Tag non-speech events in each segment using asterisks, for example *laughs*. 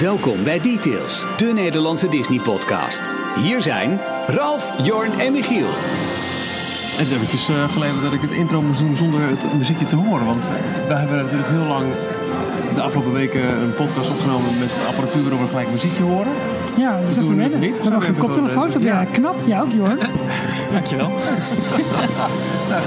Welkom bij Details, de Nederlandse Disney-podcast. Hier zijn Ralf, Jorn en Michiel. Het is eventjes eh, geleden dat ik het intro moest doen zonder het muziekje te horen. Want wij hebben natuurlijk heel lang de afgelopen weken een podcast opgenomen met apparatuur waarop we gelijk muziekje horen. Ja, dat is doen even we net. even niet. We hebben nog We geen hebben koptelefoons wel, op. eh, Ja, ja. knap. Ja, ook Jorn. *laughs* Dankjewel. Nou,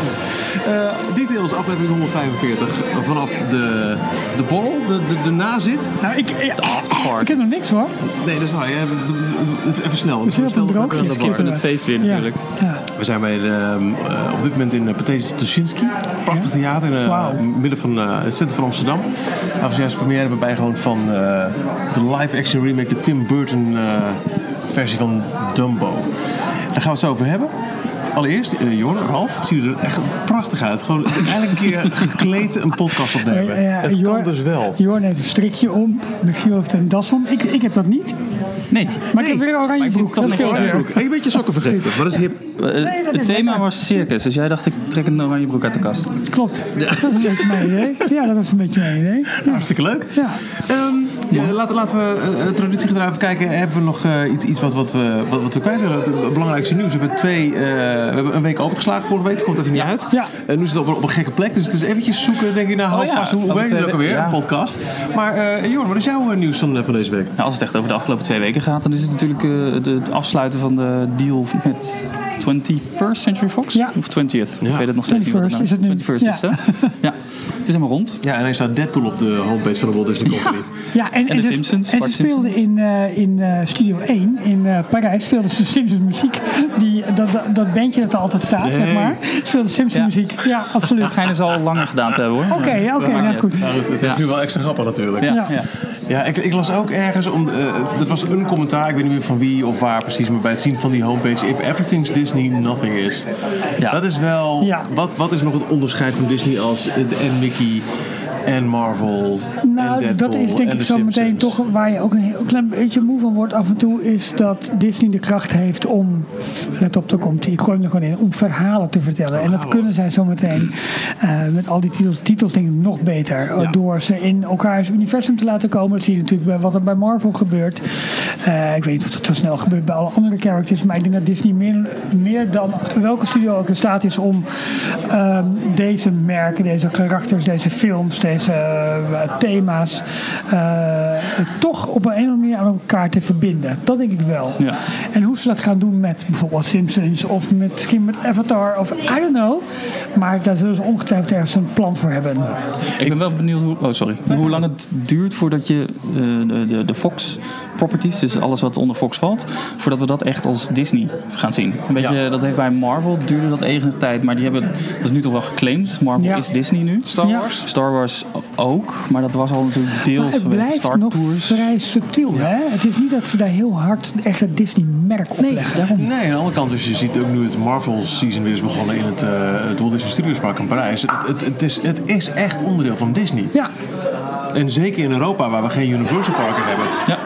Eh details aflevering 145 vanaf de, de borrel, de, de, de nazit. Nou, ik, ik, ik Afterpart. heb nog niks hoor. Nee, dat is waar. Ja, we- we- we- even snel. We zitten op een Snel droogje te naar de bar. skitteren. het feest weer natuurlijk. Ja. We zijn bij de, ehm, eh, op dit moment in uh, Pathé Tuschinski. Prachtig theater in eh, Wauw. het midden van eh, het centrum van Amsterdam. En als juist première hebben wij gewoon van eh, de live-action remake, de Tim Burton eh, versie van Dumbo. Daar gaan we het zo over hebben. Allereerst, eh Jorn, Ralf, het ziet er echt prachtig uit. Gewoon eigenlijk een keer gekleed een podcast opnemen. Eh, eh, het kan Jorn- dus wel. Jorn heeft een strikje om. Michiel heeft een das om. Ik, ik heb dat niet. Nee, Maar ik heb weer een oranje ik zit broek. toch Dat nog scheelt wel weer. Ik ben een beetje sokken vergeten, maar dat is hip. eh, Nee, dat is het thema lekker. was circus, dus jij dacht ik trek een oranje broek uit de kast. Nou, Klopt. Dat is een beetje mijn idee. Ja, dat is een beetje mijn idee. Ja. Hartstikke leuk. Ja. Ehm, ja, laten, laten we traditie traditiegetrouw even kijken. Hebben we nog eh, iets, iets wat, wat, we, wat, wat we kwijt willen? Het, het belangrijkste nieuws. We hebben, twee, eh, we hebben een week overgeslagen vorige week. Het komt even niet uit. Ja. En nu zit het op, op een gekke plek. Dus het is eventjes zoeken. denk je, nou hou Oh ja, vast. Hoe van de werkt het twee ook alweer? weken, Een ja. podcast. Maar eh Jorn, wat is jouw eh, nieuws van, eh, van deze week? Nou, als het echt over de afgelopen twee weken gaat, dan is het natuurlijk eh, het, het afsluiten van de deal met 21st Century Fox. Ja. Of 20th. Ik weet het nog steeds niet. 21st is het nu. 21st is het, hè? *laughs* ja. Het is helemaal rond. Ja, en hij staat Deadpool op de homepage van de Walt Disney Company. Ja, en, en, de ze- Simpsons, En ze Bart speelden in, eh, in eh, Studio 1 in eh, Parijs. Speelden ze Simpsons muziek. Die, dat, dat, dat bandje dat er altijd staat, zeg maar. Speelden Simpsons muziek. Ja, Dat absoluut. schijnen ze dus al langer gedaan te hebben, hoor. Oké, ja, oké. maakt nou niet goed. Maar goed, het is Ja. nu wel extra grappig natuurlijk. Ja, Ja. ja. Ja, ik, ik las ook ergens, om, eh, dat was een commentaar, ik weet niet meer van wie of waar precies, maar bij het zien van die homepage, if everything's Disney, nothing is. Ja. Dat is wel, Ja. wat, wat is nog het onderscheid van Disney als, eh, en Mickey, en Marvel, en Nou, Deadpool, dat is denk en ik de zo meteen Simpsons? toch waar je ook een heel klein beetje moe van wordt af en toe. Is dat Disney de kracht heeft om, let op, daar komt hij, ik gooi hem er gewoon in, om verhalen te vertellen. En dat kunnen zij zo meteen eh, met al die titels, titels denk ik nog beter. eh, Door ze in elkaars universum te laten komen. Dat zie je natuurlijk bij wat er bij Marvel gebeurt. Eh, ik weet niet of dat zo snel gebeurt bij alle andere characters. Maar ik denk dat Disney meer, meer dan welke studio ook in staat is om ehm, deze merken, deze karakters, deze films, deze eh, thema's eh, toch op een of andere manier aan elkaar te verbinden. Dat denk ik wel. Ja. En hoe ze dat gaan doen met bijvoorbeeld Simpsons of met, misschien met Avatar of I don't know. Maar daar zullen ze ongetwijfeld ergens een plan voor hebben. Ik ben wel benieuwd hoe, oh sorry, hoe lang het duurt voordat je eh, de- de, de Fox properties, dus alles wat onder Fox valt, voordat we dat echt als Disney gaan zien. Een beetje, Dat heeft bij Marvel duurde dat enige tijd, maar die hebben, dat is nu toch wel geclaimd. Marvel Ja. is Disney nu. Star Ja. Wars? Star Wars ook, maar dat was al natuurlijk deels Maar het vanwege blijft Star nog Tours. vrij subtiel. Hè? Het is niet dat ze daar heel hard echt het Disney-merk op leggen. Daarom- Nee, aan de andere kant, dus je ziet ook nu het Marvel season weer is begonnen in het, eh het Walt Disney Studios Park in Parijs. Het, het, het, is, het is echt onderdeel van Disney. Ja, En zeker in Europa, waar we geen Universal Parken hebben, Ja.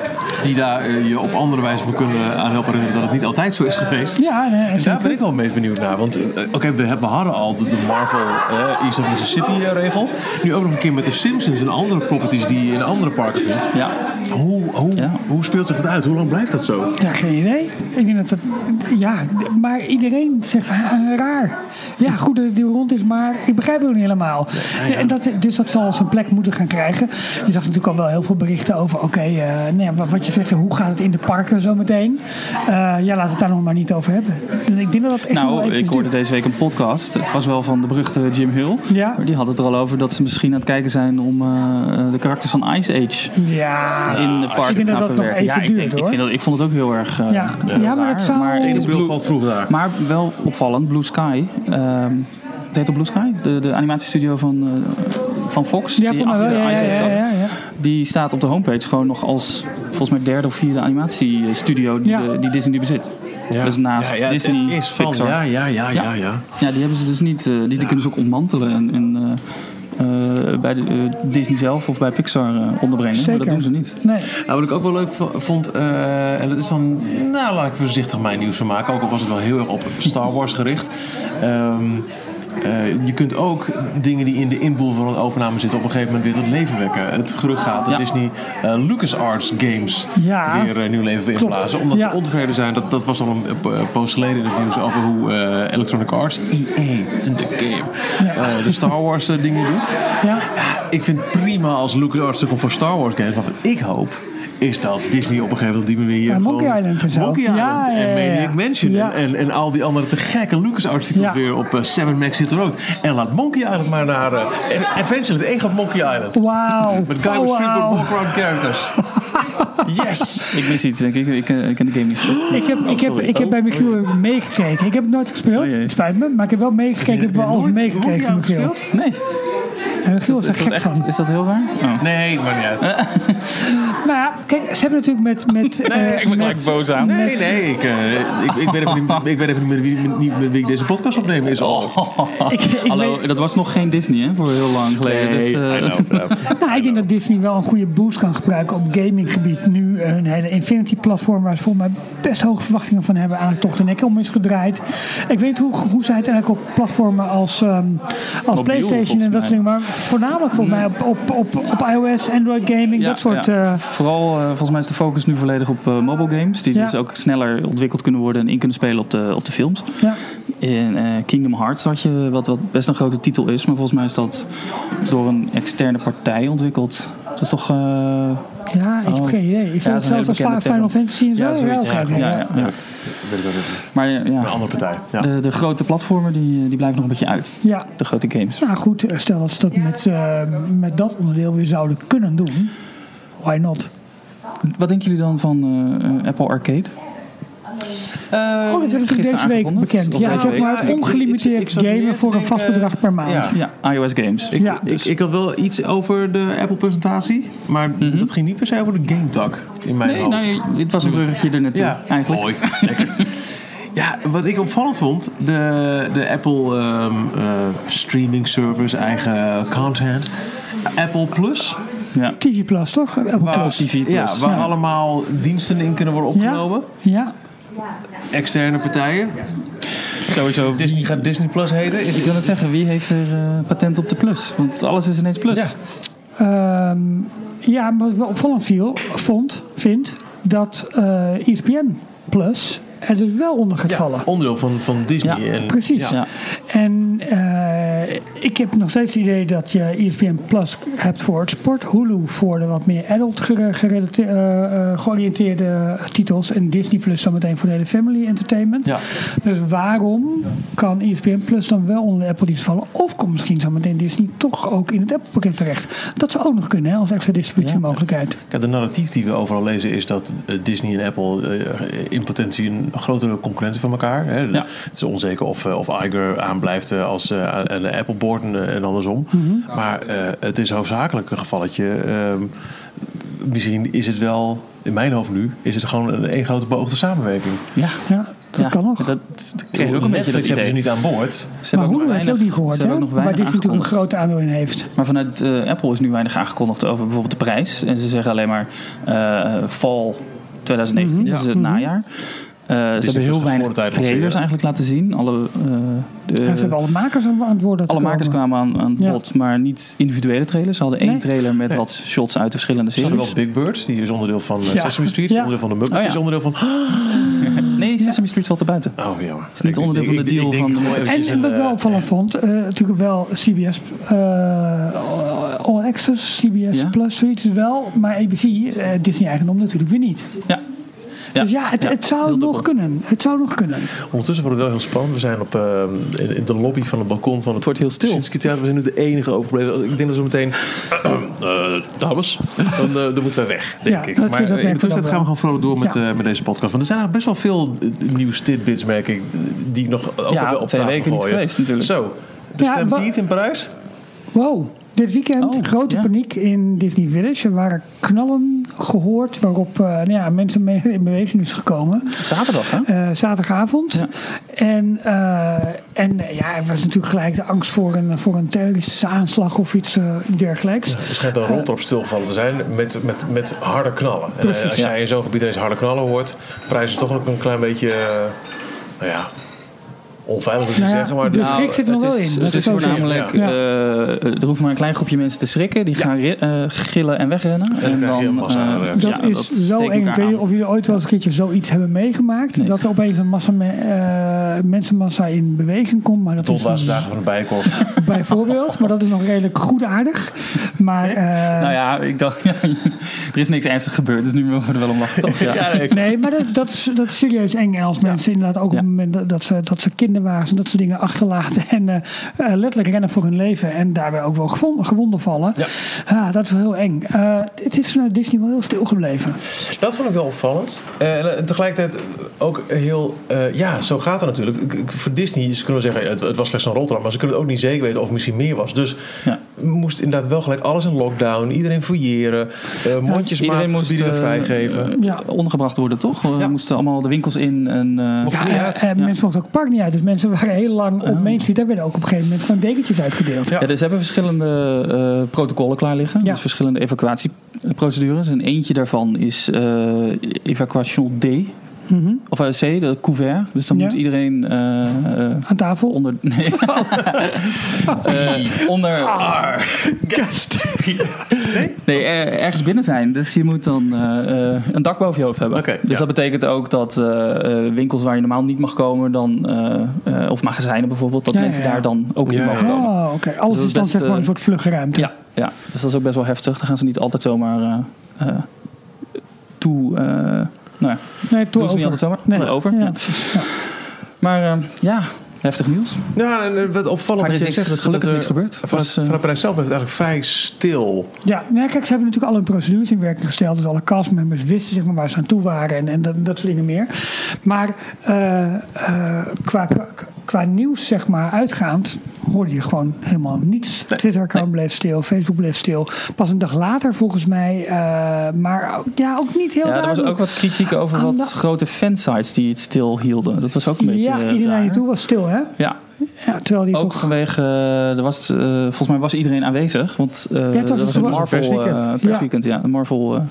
die daar eh, je op andere wijze voor kunnen eh, aan helpen herinneren dat het niet altijd zo is geweest. ja nee, En daar zeker. ben ik wel het meest benieuwd naar. Want eh, oké, we, hebben- we hadden al de, de Marvel eh, East of Mississippi-regel. Nu ook nog een keer met de Simpsons en andere properties die je in andere parken vindt. Ja, *laughs* Hoe, hoe, Ja. hoe speelt zich dat uit? Hoe lang blijft dat zo? Ja, geen idee. Ik denk dat het, ja, maar iedereen zegt "Ah, raar. Ja, goed dat het deal rond is, maar ik begrijp het ook niet helemaal. En dat, dus dat zal zijn plek moeten gaan krijgen. Je zag natuurlijk al wel heel veel berichten over, oké, eh, nou ja, wat- wat je zegt, hoe gaat het in de parken zo meteen? Eh, ja, laten we het daar nog maar niet over hebben. Dus ik denk dat dat echt nog wel nou, eventjes ik hoorde duurt. deze week een podcast. Het was wel van de beruchte Jim Hill. Ja. Maar die had het er al over dat ze misschien aan het kijken zijn om eh, de karakters van Ice Age Ja, in de park ik te denk dat dat gaan nog verwerken. even Ja, ik, denk- duurt, ik, hoor. vind dat, ik vond het ook heel erg. eh, Ja. eh, Ja, maar het raar. zou- Maar, het Eén is bril blue- valt vroeg daar. maar wel opvallend, Blue Sky. ehm het heet ook Blue Sky, de, de animatiestudio van, eh, van Fox. ja, die voor mij wel. achter Ja, ja, Ice Age ja, zat. ja, ja. Die staat op de homepage gewoon nog als volgens mij derde of vierde animatiestudio die, Ja. de- die Disney nu bezit. Dus naast Ja, ja, het- Disney, het is van, Pixar. Ja, ja, ja, ja, Ja. ja. Ja, die hebben ze dus niet. eh, die, die kunnen ze ook ontmantelen en, en, eh, eh, bij de, eh, Disney zelf of bij Pixar eh, onderbrengen. Maar Zeker. dat doen ze niet. Nee. Nou, wat ik ook wel leuk v- vond, eh, en dat is dan, nou laat ik voorzichtig mijn nieuws van maken, ook al was het wel heel erg op Star Wars gericht. Ehm, Eh, je kunt ook dingen die in de inboel van een overname zitten op een gegeven moment weer tot leven wekken. Het gerucht gaat dat Ja. Disney eh LucasArts games Ja. weer eh, nieuw leven Klopt. inblazen. Omdat Ja. ze ontevreden zijn. Dat, dat was al een eh, post geleden in het nieuws over hoe eh, Electronic Arts, EA, it's in the game, Ja. eh, de Star Wars eh, dingen doet. Ja. Ik vind het prima als LucasArts er komt voor Star Wars games. Maar wat ik hoop is dat Disney op een gegeven moment op die manier... Ja, Monkey gewoon- Island en zo. Monkey Island Ja, ja, en ja, ja. Maniac Mansion Ja. en, en, en al die andere te gekke LucasArts titels Ja. weer op eh, Seven Max Hit the Road. En laat Monkey Island maar naar... eh Adventureland, één gaat Monkey Island. Wauw. Met guy with Oh, three wauw. good walk-around *laughs* characters. yes! Ik mis iets, denk ik. Ik, eh, ik ken de game niet zo goed. Ik heb, ik heb, sorry. ik heb Oh. bij Michiel meegekeken. Ik heb het nooit gespeeld, Oh, jee. het spijt me. Maar ik heb wel meegekeken. Ik heb wel alles Nooit Monkey meegekeken van Island Michiel. gespeeld? Nee, En Michiel is er is dat, gek echt, van. is dat heel waar? Oh. Nee, maar niet uit. Nou ja, kijk, ze hebben natuurlijk met... met *laughs* Nee, eh, ik ben gelijk met- boos *laughs* aan. Nee, nee, ik, eh, ik, ik weet even niet, ik weet even niet met wie, niet met wie ik deze podcast opneem is al. Ik, ik Hallo, weet- dat was nog geen Disney, hè? Voor heel lang geleden. dus, eh, I know, I know. nou, ik denk dat Disney wel een goede boost kan gebruiken op gaminggebied. Nu eh, hun hele Infinity-platform, waar ze volgens mij best hoge verwachtingen van hebben, eigenlijk toch de nek om is gedraaid. Ik weet niet hoe, hoe zij het eigenlijk op platformen als, ehm, als PlayStation volgens en dat soort dingen, maar voornamelijk volgens mij op, op, op, op iOS, Android gaming, Ja, dat soort... ja. eh, Vooral, eh, volgens mij is de focus nu volledig op eh, mobile games. Die Ja. dus ook sneller ontwikkeld kunnen worden en in kunnen spelen op de, op de films. ja. In eh, Kingdom Hearts had je, wat, wat best een grote titel is. Maar volgens mij is dat door een externe partij ontwikkeld. Dat is toch... eh, Ja, ik heb Oh. geen idee. Is dat Ja, dat is een hele zelfs als bekende Final term. Fantasy en zo? ja, zoiets. oké, ja, ja, ja. Maar eh, Een ja, andere partij. Ja. de, de grote platformen die, die blijven nog een beetje uit. Ja. De grote games. Nou goed, stel dat ze dat met, eh, met dat onderdeel weer zouden kunnen doen. Why not? Wat denken jullie dan van eh, eh, Apple Arcade? Eh, Oh, dat werd natuurlijk Eh, gisteren deze week aangekondigd. bekend. Of Ja, deze zeg week. maar Ja, ik- ik- ik ongelimiteerd zat meer gamen te voor een denken, vast bedrag per maand. ja. Ja, iOS games. Ik, Ja, dus- ik, ik had wel iets over de Apple-presentatie, maar dat ging niet per se over de Game Talk Mhm. in mijn Nee, hoofd. nee, dit was een bruggetje er naartoe ja, *laughs* eigenlijk. Mooi, lekker. Ja, wat ik opvallend vond, de, de Apple ehm, eh, streaming service, eigen content, Apple Plus, Ja. TV Plus, toch? Apple Plus. TV Plus. Ja, waar allemaal diensten in kunnen worden opgenomen, Ja, ja. externe partijen. Sowieso. Disney gaat Disney Plus heten. Is Ik wil het zeggen, wie heeft er eh, patent op de plus? Want alles is ineens plus. Ja. Ehm, ja, maar wat ik wel opvallend viel, vond, vind, dat eh ESPN Plus er dus wel onder gaat vallen. onderdeel van, van Disney. Ja, en, Precies. Ja. En eh, ik heb nog steeds het idee dat je E ESPN Plus hebt voor het sport, Hulu voor de wat meer adult gere- gerelate- eh, eh, georiënteerde titels en Disney Plus zometeen voor de hele family entertainment. Ja. Dus waarom kan E ESPN Plus dan wel onder de Apple dienst vallen? Of komt misschien zometeen Disney toch ook in het Apple pakket terecht? Dat zou ook nog kunnen hè, als extra distributiemogelijkheid. Kijk, de narratief die we overal lezen is dat eh, Disney en Apple eh, in potentie een grotere concurrenten van elkaar. Hè. Ja. Het is onzeker of, eh, of Iger aanblijft eh, als eh, aan- aan de Apple Board en, eh, en andersom. Mhm. Nou, Maar eh, het is hoofdzakelijk een gevalletje. ehm, misschien is het wel, in mijn hoofd nu, is het gewoon een, één grote beoogde samenwerking. Ja. Ja, dat Ja, kan nog. Dat kreeg ik ook een beetje dat Netflix hebben idee. ze niet aan boord. Ze maar hebben ook Hulu heb nog je ook weinig- niet gehoord, ze hè? hebben ook nog Waar weinig Disney natuurlijk een aangekondigd. groot aandeel in heeft. Maar vanuit eh, Apple is nu weinig aangekondigd over bijvoorbeeld de prijs. En ze zeggen alleen maar eh fall 2019, Mhm. dat is het najaar. Dus Eh, ze hebben moest heel de weinig voortijd lanceren. trailers eigenlijk laten zien. Alle, eh, de- Ja, ze hebben alle makers aan het woord laten alle makers komen. kwamen aan, aan het Ja. bod, maar niet individuele trailers. Ze hadden één Nee. trailer met Nee. wat shots uit de verschillende Ze hebben series. wel Big Bird, die is onderdeel van eh, Ja. Sesame Street, Ja. is onderdeel van de Muppets, Oh ja. is onderdeel van... Nee, Sesame Street valt er buiten. Oh, jammer. Is niet Ik- onderdeel ik- van de ik- deal ik denk van- gewoon En- eventjes En, en wat een, ik wel opvallend vond, eh, natuurlijk wel CBS eh, All Access, CBS Ja. Plus, zoiets wel. Maar ABC, eh, Disney-eigendom natuurlijk weer niet. Ja. Dus ja, het, het zou heel nog dubbel. kunnen. Het zou nog kunnen. Ondertussen wordt het wel heel spannend. We zijn op, eh, in, in de lobby van het balkon van het, wordt heel stil. Tuschinski Theater. We zijn nu de enige overgebleven. Ik denk dat zo meteen... eh, dames, dan, eh, dan moeten wij weg, denk Ja, ik. dat- Maar eh, dat in de merken we dan tussentijd gaan we gewoon vrolijk door met, Ja. eh, met deze podcast. Want er zijn eigenlijk best wel veel eh, nieuws tidbits, merk ik, die ik nog ook Ja, wel op twee tafel weken niet gooien. geweest natuurlijk. Zo, de Ja, wa- Stampede in Parijs? Wow, dit weekend Oh, grote ja. paniek in Disney Village. Er waren knallen gehoord waarop eh, nou ja, mensen mee in beweging is gekomen. Zaterdag, hè? Eh, zaterdagavond. En, eh, en eh, ja, er was natuurlijk gelijk de angst voor een, voor een terroristische aanslag of iets eh, dergelijks. Er schijnt een rond op stilvallen te zijn met, met, met harde knallen. En, eh, Precies. als jij in zo'n gebied deze harde knallen hoort, prijzen toch ook een klein beetje... eh, nou ja, Onveilig moet ik Nou ja, zeggen, maar dus de dat- schrik zit er nog het wel is, in. Het Dat is is ook zo. voornamelijk, Ja. eh, er hoeft maar een klein groepje mensen te schrikken. Die gaan ri- eh, gillen en wegrennen. En krijg je een massa eh, reactie. ja, Dat is zo steekt eng. Ik elkaar weet niet aan. of jullie ooit wel eens een keertje zoiets hebben meegemaakt. Nee. Dat er opeens een massa me- eh, mensenmassa in beweging komt. Maar dat Tot is laatste dagen van de *laughs* bijenkorf. bijvoorbeeld. Maar dat is nog redelijk goed aardig. Maar eh, Nou ja, ik dacht, *laughs* er is niks ernstigs gebeurd, dus nu mogen we er wel om lachen. toch? Ja. nee, maar dat, dat, is, dat is serieus eng. En als mensen inderdaad ook Ja. op het moment dat- dat ze, dat ze kinderwagens en dat soort dingen achterlaten. En eh, eh, letterlijk rennen voor hun leven. En daarbij ook wel gewon- gewonden vallen. Ja. Ah, dat is wel heel eng. Eh, het is vanuit Disney wel heel stil gebleven. Dat vond ik wel opvallend. Eh, en tegelijkertijd ook heel... eh, ja, zo gaat het natuurlijk. Ik- ik- Voor Disney is- kunnen we zeggen, het, het was slechts een Rotterdam. Maar ze kunnen het ook niet zeker weten of het misschien meer was. Dus Ja. moest inderdaad wel gelijk alles in lockdown. Iedereen fouilleren. eh mondjesmaat Iedereen moest, gebieden eh, vrijgeven. eh, Ja. ondergebracht worden, toch? We Ja. moesten allemaal de winkels in. En, eh, Mocht- Ja, Ja, en- het- en ja. Oh. mensen mochten ook het park niet uit. Dus mensen waren heel lang op Main Street. Daar werden ook op een gegeven moment gewoon dekentjes uitgedeeld. Ja. ja, dus ze hebben verschillende eh, protocollen klaar liggen. Ja. Dus verschillende evacuatieprocedures. En eentje daarvan is eh evacuation D. Mhm. Of eh, C, de couvert. Dus dan Ja. moet iedereen eh, eh, Aan tafel. onder... *laughs* Nee. Eh, onder... Nee, er- ergens binnen zijn. Dus je moet dan eh, eh, een dak boven je hoofd hebben. Oké, dus ja. dat betekent ook dat eh, eh, winkels waar je normaal niet mag komen, dan, eh, eh, of magazijnen bijvoorbeeld, dat Ja, ja, mensen ja. daar dan ook Ja, niet mogen ja. komen. Oh, oké. Alles Dus is dan best, zeg maar een eh, soort vluchtruimte. Ja, ja, dus dat is ook best wel heftig. Dan gaan ze niet altijd zomaar eh, eh, toe. eh, nou ja, Nee, toe doen ze over. niet altijd zomaar. Nee. Nee, over. Ja, ja. precies. Ja. Maar eh, ja, heftig nieuws. Ja, en eh, wat opvallend Maar er dat is je zegt niks- dat gelukkig er- niks gebeurd. Vanuit, Was, eh, vanuit Parijs zelf werd het eigenlijk vrij stil. Ja, nou ja, kijk, ze hebben natuurlijk alle procedures in werking gesteld. Dus alle castmembers wisten zeg maar, waar ze aan toe waren en, en dat, dat soort dingen meer. Maar eh, eh, qua, qua, qua nieuws zeg maar, uitgaand hoorde je gewoon helemaal niets. Twitter-account bleef stil, Facebook bleef stil. Pas een dag later volgens mij. eh, maar ook- ja, ook niet heel Ja, er duidelijk. was ook wat kritiek over Aan wat de- grote fansites die het stil hielden. Dat was ook een beetje. ja, eh, iedereen raar. naar je toe was stil, hè? Ja, Ja, terwijl die ook toch... vanwege. eh, er was, eh, volgens mij was iedereen aanwezig. Want eh het dat was, was een gewoon- Marvel persweekend. eh, persweekend, ja. Een Marvel eh,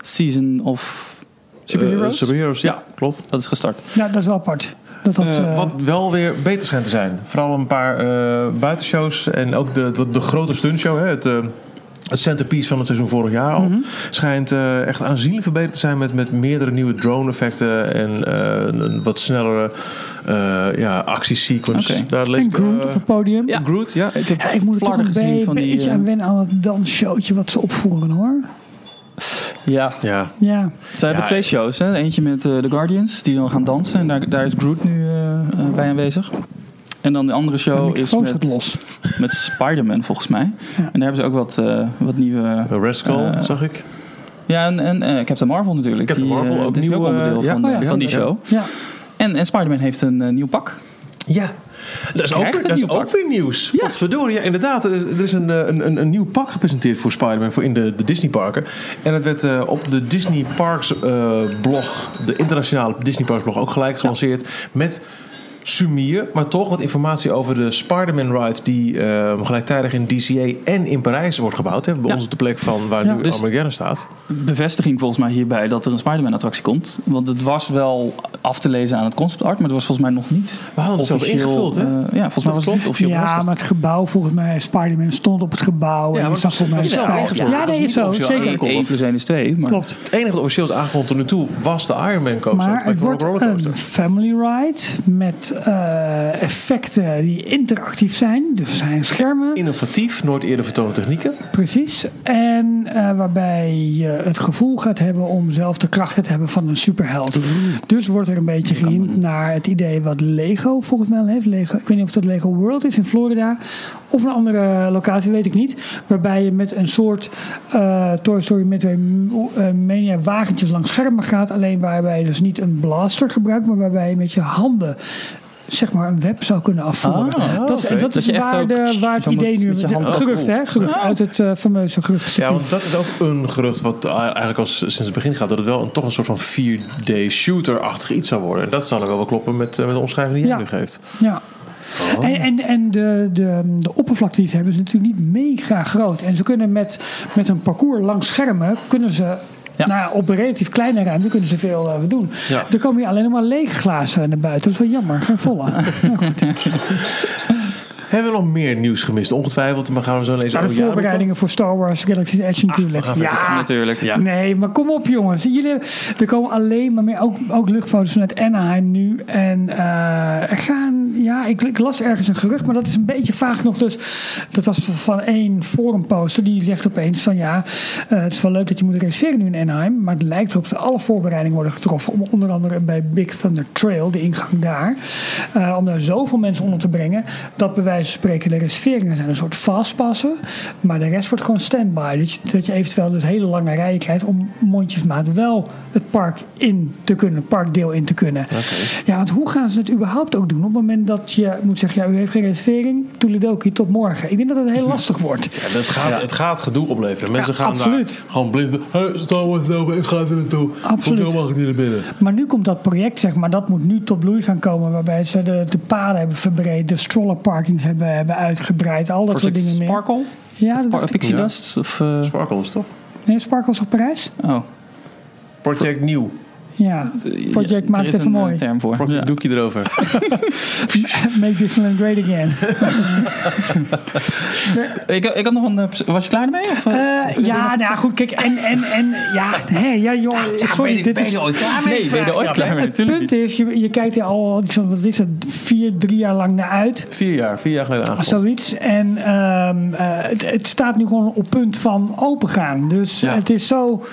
Season of Eh, superheroes, ja, klopt. dat is gestart. Ja, dat is wel apart. Dat dat, Eh, eh, wat wel weer beter schijnt te zijn. Vooral een paar eh, buitenshows en ook de, de, de grote stuntshow. Hè, het, eh, het centerpiece van het seizoen vorig jaar al. Schijnt eh, echt aanzienlijk verbeterd te zijn met, met meerdere nieuwe drone effecten. En eh, een- een wat snellere eh ja, actiesequence. Oké. Daar lees en ik, Groot eh, op het podium. Ja. Groot, ja. Ik heb Ja, ik moet er toch Flarden een gezien be- van die, beetje eh, aan wennen aan dat dansshowtje wat ze opvoeren hoor. Ja, ja. Ja, ze hebben Ja, twee shows. Hè. Eentje met eh, de Guardians, die dan gaan dansen. En daar, daar is Groot nu eh, eh, bij aanwezig. En dan de andere de show is microfoon staat met, los. met Spider-Man, volgens mij. En daar hebben ze ook wat, eh, wat nieuwe... Rascal, Eh, zag ik. Ja, en, en eh, Captain Marvel natuurlijk. Captain Die, eh, Marvel, ook dit is nieuw, eh, onderdeel ja. van, Oh eh, ja. van die Ja. show. Ja. En, en Spider-Man heeft een eh, nieuw pak. Ja, dat is ook, Krijgt weer, een dat is nieuw pak. ook weer nieuws. Ja. Potverdorie, ja, inderdaad. Er er is een, eh, een, een, een nieuw pak gepresenteerd voor Spider-Man voor in de, de Disney-parken. En dat werd eh, op de Disney Parks eh, blog, de internationale Disney Parks blog, ook gelijk gelanceerd met sumier, maar toch wat informatie over de Spider-Man ride die eh, gelijktijdig in DCA en in Parijs wordt gebouwd. Hè, bij Ja. ons op de plek van waar Ja, nu dus- Armageddon staat. bevestiging volgens mij hierbij dat er een Spider-Man-attractie komt. Want het was wel af te lezen aan het concept art, maar het was volgens mij nog niet We hadden het zelf ingevuld, hè? eh, ja, volgens mij was het klopt. niet officieel ja, bevestigd. maar het gebouw volgens mij, Spider-Man stond op het gebouw. Ja, en maar ik het zag was volgens mij zelf een ingevuld. spel. Het Ja, was dat niet is zo, officieel zeker. aangekondigd. Eén- één plus 1 is 2. Maar Klopt. Het enige wat officieel is aangekondigd tot nu toe was de Iron Man coaster. Maar het wordt een family ride met eh, effecten die interactief zijn. Dus er zijn schermen. Innovatief, nooit eerder vertoonde technieken. Precies. En eh, waarbij je het gevoel gaat hebben om zelf de krachten te hebben van een superheld. Dus wordt er een beetje gehind naar het idee wat Lego volgens mij al heeft. Lego, ik weet niet of dat Lego World is in Florida. Of een andere locatie, weet ik niet. Waarbij je met een soort eh Toy Story Midway m- eh, Mania wagentjes langs schermen gaat. Alleen waarbij je dus niet een blaster gebruikt, maar waarbij je met je handen zeg maar een web zou kunnen afvoeren. Ah, dat, is- oké. dat Dat is je echt waar, zo- de, waar het zo met- idee nu... met je hand- het Oh, gerucht, cool. hè? Gerucht uit het eh, fameuze gerucht. Ja, want dat is ook een gerucht wat eigenlijk al sinds het begin gaat. Dat het wel een, toch een soort van 4D shooter-achtig iets zou worden. En dat zal ook wel kloppen met, eh, met de omschrijving die jij Ja. nu geeft. Ja. Oh. En, en, en de, de, de oppervlakte die ze hebben is natuurlijk niet mega groot. En ze kunnen met, met een parcours langs schermen... kunnen ze Ja. Nou ja, op een relatief kleine ruimte kunnen ze veel eh, doen. Ja. Er komen hier alleen nog maar lege glazen naar buiten. Dat is wel jammer, geen volle. nou goed. Hebben we nog meer nieuws gemist? Ongetwijfeld, maar gaan we zo lezen. Nou, de Oh, ja, voorbereidingen voor Star Wars Galaxy's Edge natuurlijk. we gaan verder. ja, Natuurlijk. Ja. Nee, maar kom op jongens. Jullie, hebben- er komen alleen maar meer, ook, ook luchtfoto's vanuit Anaheim nu. En eh, er gaan, ja, ik, ik las ergens een gerucht, maar dat is een beetje vaag nog. Dus dat was van één forumposter. Die zegt opeens van ja, eh, het is wel leuk dat je moet reserveren nu in Anaheim. Maar het lijkt erop dat alle voorbereidingen worden getroffen. Om, onder andere bij Big Thunder Trail, de ingang daar. eh, om daar zoveel mensen onder te brengen. Dat bij wijze van spreken de reserveringen zijn een soort fastpassen. Maar de rest wordt gewoon standby. Dat je, dat je eventueel dus hele lange rijen krijgt om mondjesmaat wel het park in te kunnen, het parkdeel in te kunnen. Ja, want hoe gaan ze het überhaupt ook doen? Op het moment dat je moet zeggen, ja, u heeft geen reservering, toeledoki, tot morgen. Ik denk dat het heel lastig wordt. Ja, dat gaat, Het gaat gedoe opleveren. Mensen Ja, gaan absoluut. daar gewoon blind. Hey, Star Wars, Star Wars, ik ga er naartoe. Absoluut. Hoezo mag ik niet naar binnen? Maar nu komt dat project, zeg maar, dat moet nu tot bloei gaan komen. Waarbij ze de, de paden hebben verbreed, de strollerparkings hebben, hebben uitgebreid, al dat Project soort dingen meer. Sparkle? Ja, dat Par- dacht ik. Pixie Ja. Dust? Of, eh, Sparkles, toch? Nee, Sparkles op Parijs? oh. Project Nieuw. Ja, Project er maakt is even een, mooi. eh, term voor. Project Ja. Doekje erover. *laughs* Make Disneyland great *laughs* again. Eh, Ik, ik had nog een... eh, pers- Was je klaar ermee? Of, eh? Eh, ja, nou ja, goed, kijk, en, en, en, ja, hè, ja, joh, sorry, dit is... nee, ben je er ooit klaar *laughs* mee? Het punt Natuurlijk. is, je, je kijkt er al, zo, wat is het, vier, drie jaar lang naar uit. Vier jaar, vier jaar geleden aangekomen. Zoiets. En ehm, eh, het, het staat nu gewoon op punt van opengaan. Dus Ja. het is zo,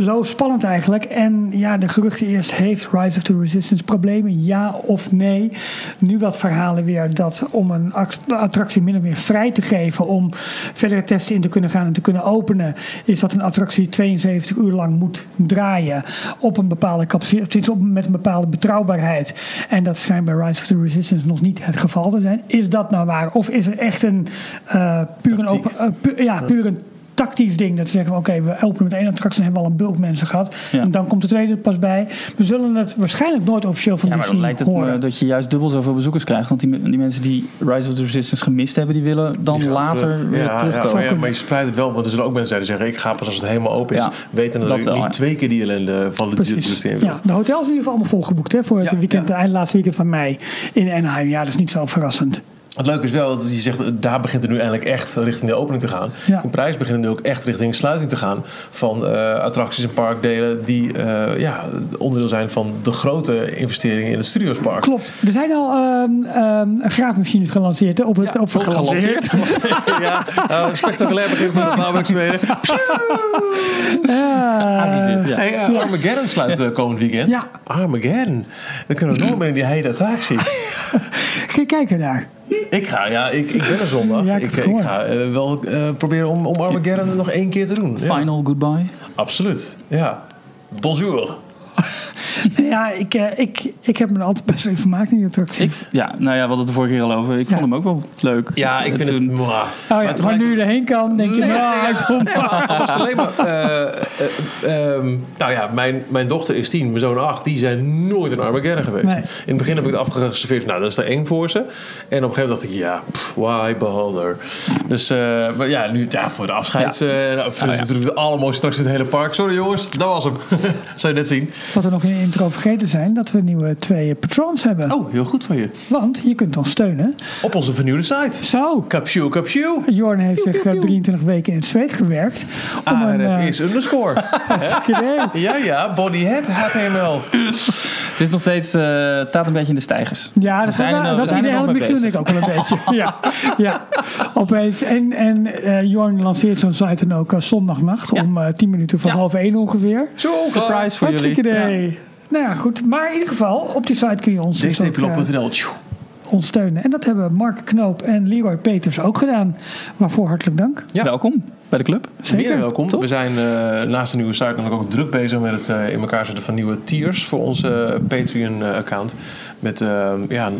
zo spannend eigenlijk. En ja, de geruchten eerst heeft Rise of the Resistance problemen, ja of nee. Nu wat verhalen weer dat om een act- attractie min of meer vrij te geven om verdere testen in te kunnen gaan en te kunnen openen, is dat een attractie 72 uur lang moet draaien op een bepaalde capaciteit, op, met een bepaalde betrouwbaarheid. En dat schijnt bij Rise of the Resistance nog niet het geval te zijn. Is dat nou waar? Of is er echt een eh puur een, open, eh, pu- ja, puur een tactisch ding. Dat ze zeggen, oké, we openen met één attractie en hebben we al een bulk mensen gehad. Ja. En dan komt de tweede er pas bij. We zullen het waarschijnlijk nooit officieel van Ja, maar dan Disney lijkt het horen. me dat je juist dubbel zoveel bezoekers krijgt. Want die, me- die mensen die Rise of the Resistance gemist hebben, die willen dan Die gaan later terug. weer ja, ja, terugkomen. maar, ja, maar je spreidt het wel, want er zullen ook mensen zijn die zeggen: ik ga pas als het helemaal open is. Ja, weten dat, dat ik wel, niet ja. twee keer die ellende van de Precies. duurte Ja, de hotels in ieder geval allemaal volgeboekt hè, voor het Ja, weekend, de eind, laatste weekend van mei in Anaheim. Ja, dat is niet zo verrassend. Het leuke is wel dat je zegt, eh, daar begint het nu eindelijk echt richting de opening te gaan. Ja. De prijs begint nu ook echt richting sluiting te gaan van eh, attracties en parkdelen die eh, ja, onderdeel zijn van de grote investeringen in het Studiospark. Klopt. Er zijn al ehm ehm, graafmachines gelanceerd hè, op het op het- *laughs* ja, nou, spectaculair begint met de bouwwerkzaamheden. *laughs* Eh, Hey, eh, Armageddon sluit eh, komend weekend. Ja. Armageddon. Dan kunnen we nooit meer in die hele *laughs* attractie. Ga je kijken daar. Ik ga, ja, ik, ik ben er zondag. Ja, ik heb ik, het ik gehoord. ga eh, wel eh, proberen om, om Armageddon nog één keer te doen. Ja, Final goodbye. absoluut. Ja. Bonjour. Nou Ja, ik, eh, ik, ik heb me er altijd best wel in vermaakt in die attractie. Oh Ik, ja, nou ja, we hadden het de vorige keer al over. Ik Ja. vond hem ook wel leuk. Ja, ik Eh, vind toen- het... Mwah. oh ja, maar tegelijk- nu je erheen kan, denk je, Nee, nou, nee, ik doe maar. Ja, maar het was alleen maar... eh, eh, ehm, nou ja, mijn, mijn dochter is tien, mijn zoon acht. Die zijn nooit in Armageddon geweest. Nee. In het begin heb ik het afgeserveerd. Nou, dat is er één voor ze. En op een gegeven moment dacht ik, ja, pff, why bother? Dus eh, maar ja, nu ja, voor de afscheids... eh nou, dat is natuurlijk de allermooiste straks in het hele park. Sorry jongens, dat was hem. *laughs* Zou je net zien. Wat we nog in de intro vergeten zijn, dat we nieuwe twee patrons hebben. Oh, heel goed van je. Want je kunt ons steunen. Op onze vernieuwde site. Zo, Capsule, capsule. Jorn heeft zich eh, 23 weken in het zweet gewerkt. Om Ah, een, ARF eh, is underscore. idee. ja, ja, bodyhead, HTML. Het is nog steeds... eh, het staat een beetje in de *laughs* stijgers. Ja, dat, zijn zijn er nog- we dat zijn er idee nog hadden mee Michiel en ik ook wel een beetje. *laughs* Ja, ja. opeens. En, en eh, Jorn lanceert zo'n site dan ook eh, zondagnacht om eh 10 minuten voor Ja. half 1 ongeveer. Zo, Surprise voor Hartstikke idee. jullie. Nou ja, goed. Maar in ieder geval, op die site kun je ons dus ook, eh, d-log.nl. ons steunen. En dat hebben Mark Knoop en Leroy Peters ook gedaan. Waarvoor hartelijk dank. Ja. Welkom bij de club. Zeker. Meer welkom. Top. We zijn eh, naast de nieuwe site namelijk ook druk bezig met het eh, in elkaar zetten van nieuwe tiers voor onze eh, Patreon-account. Met, eh, ja,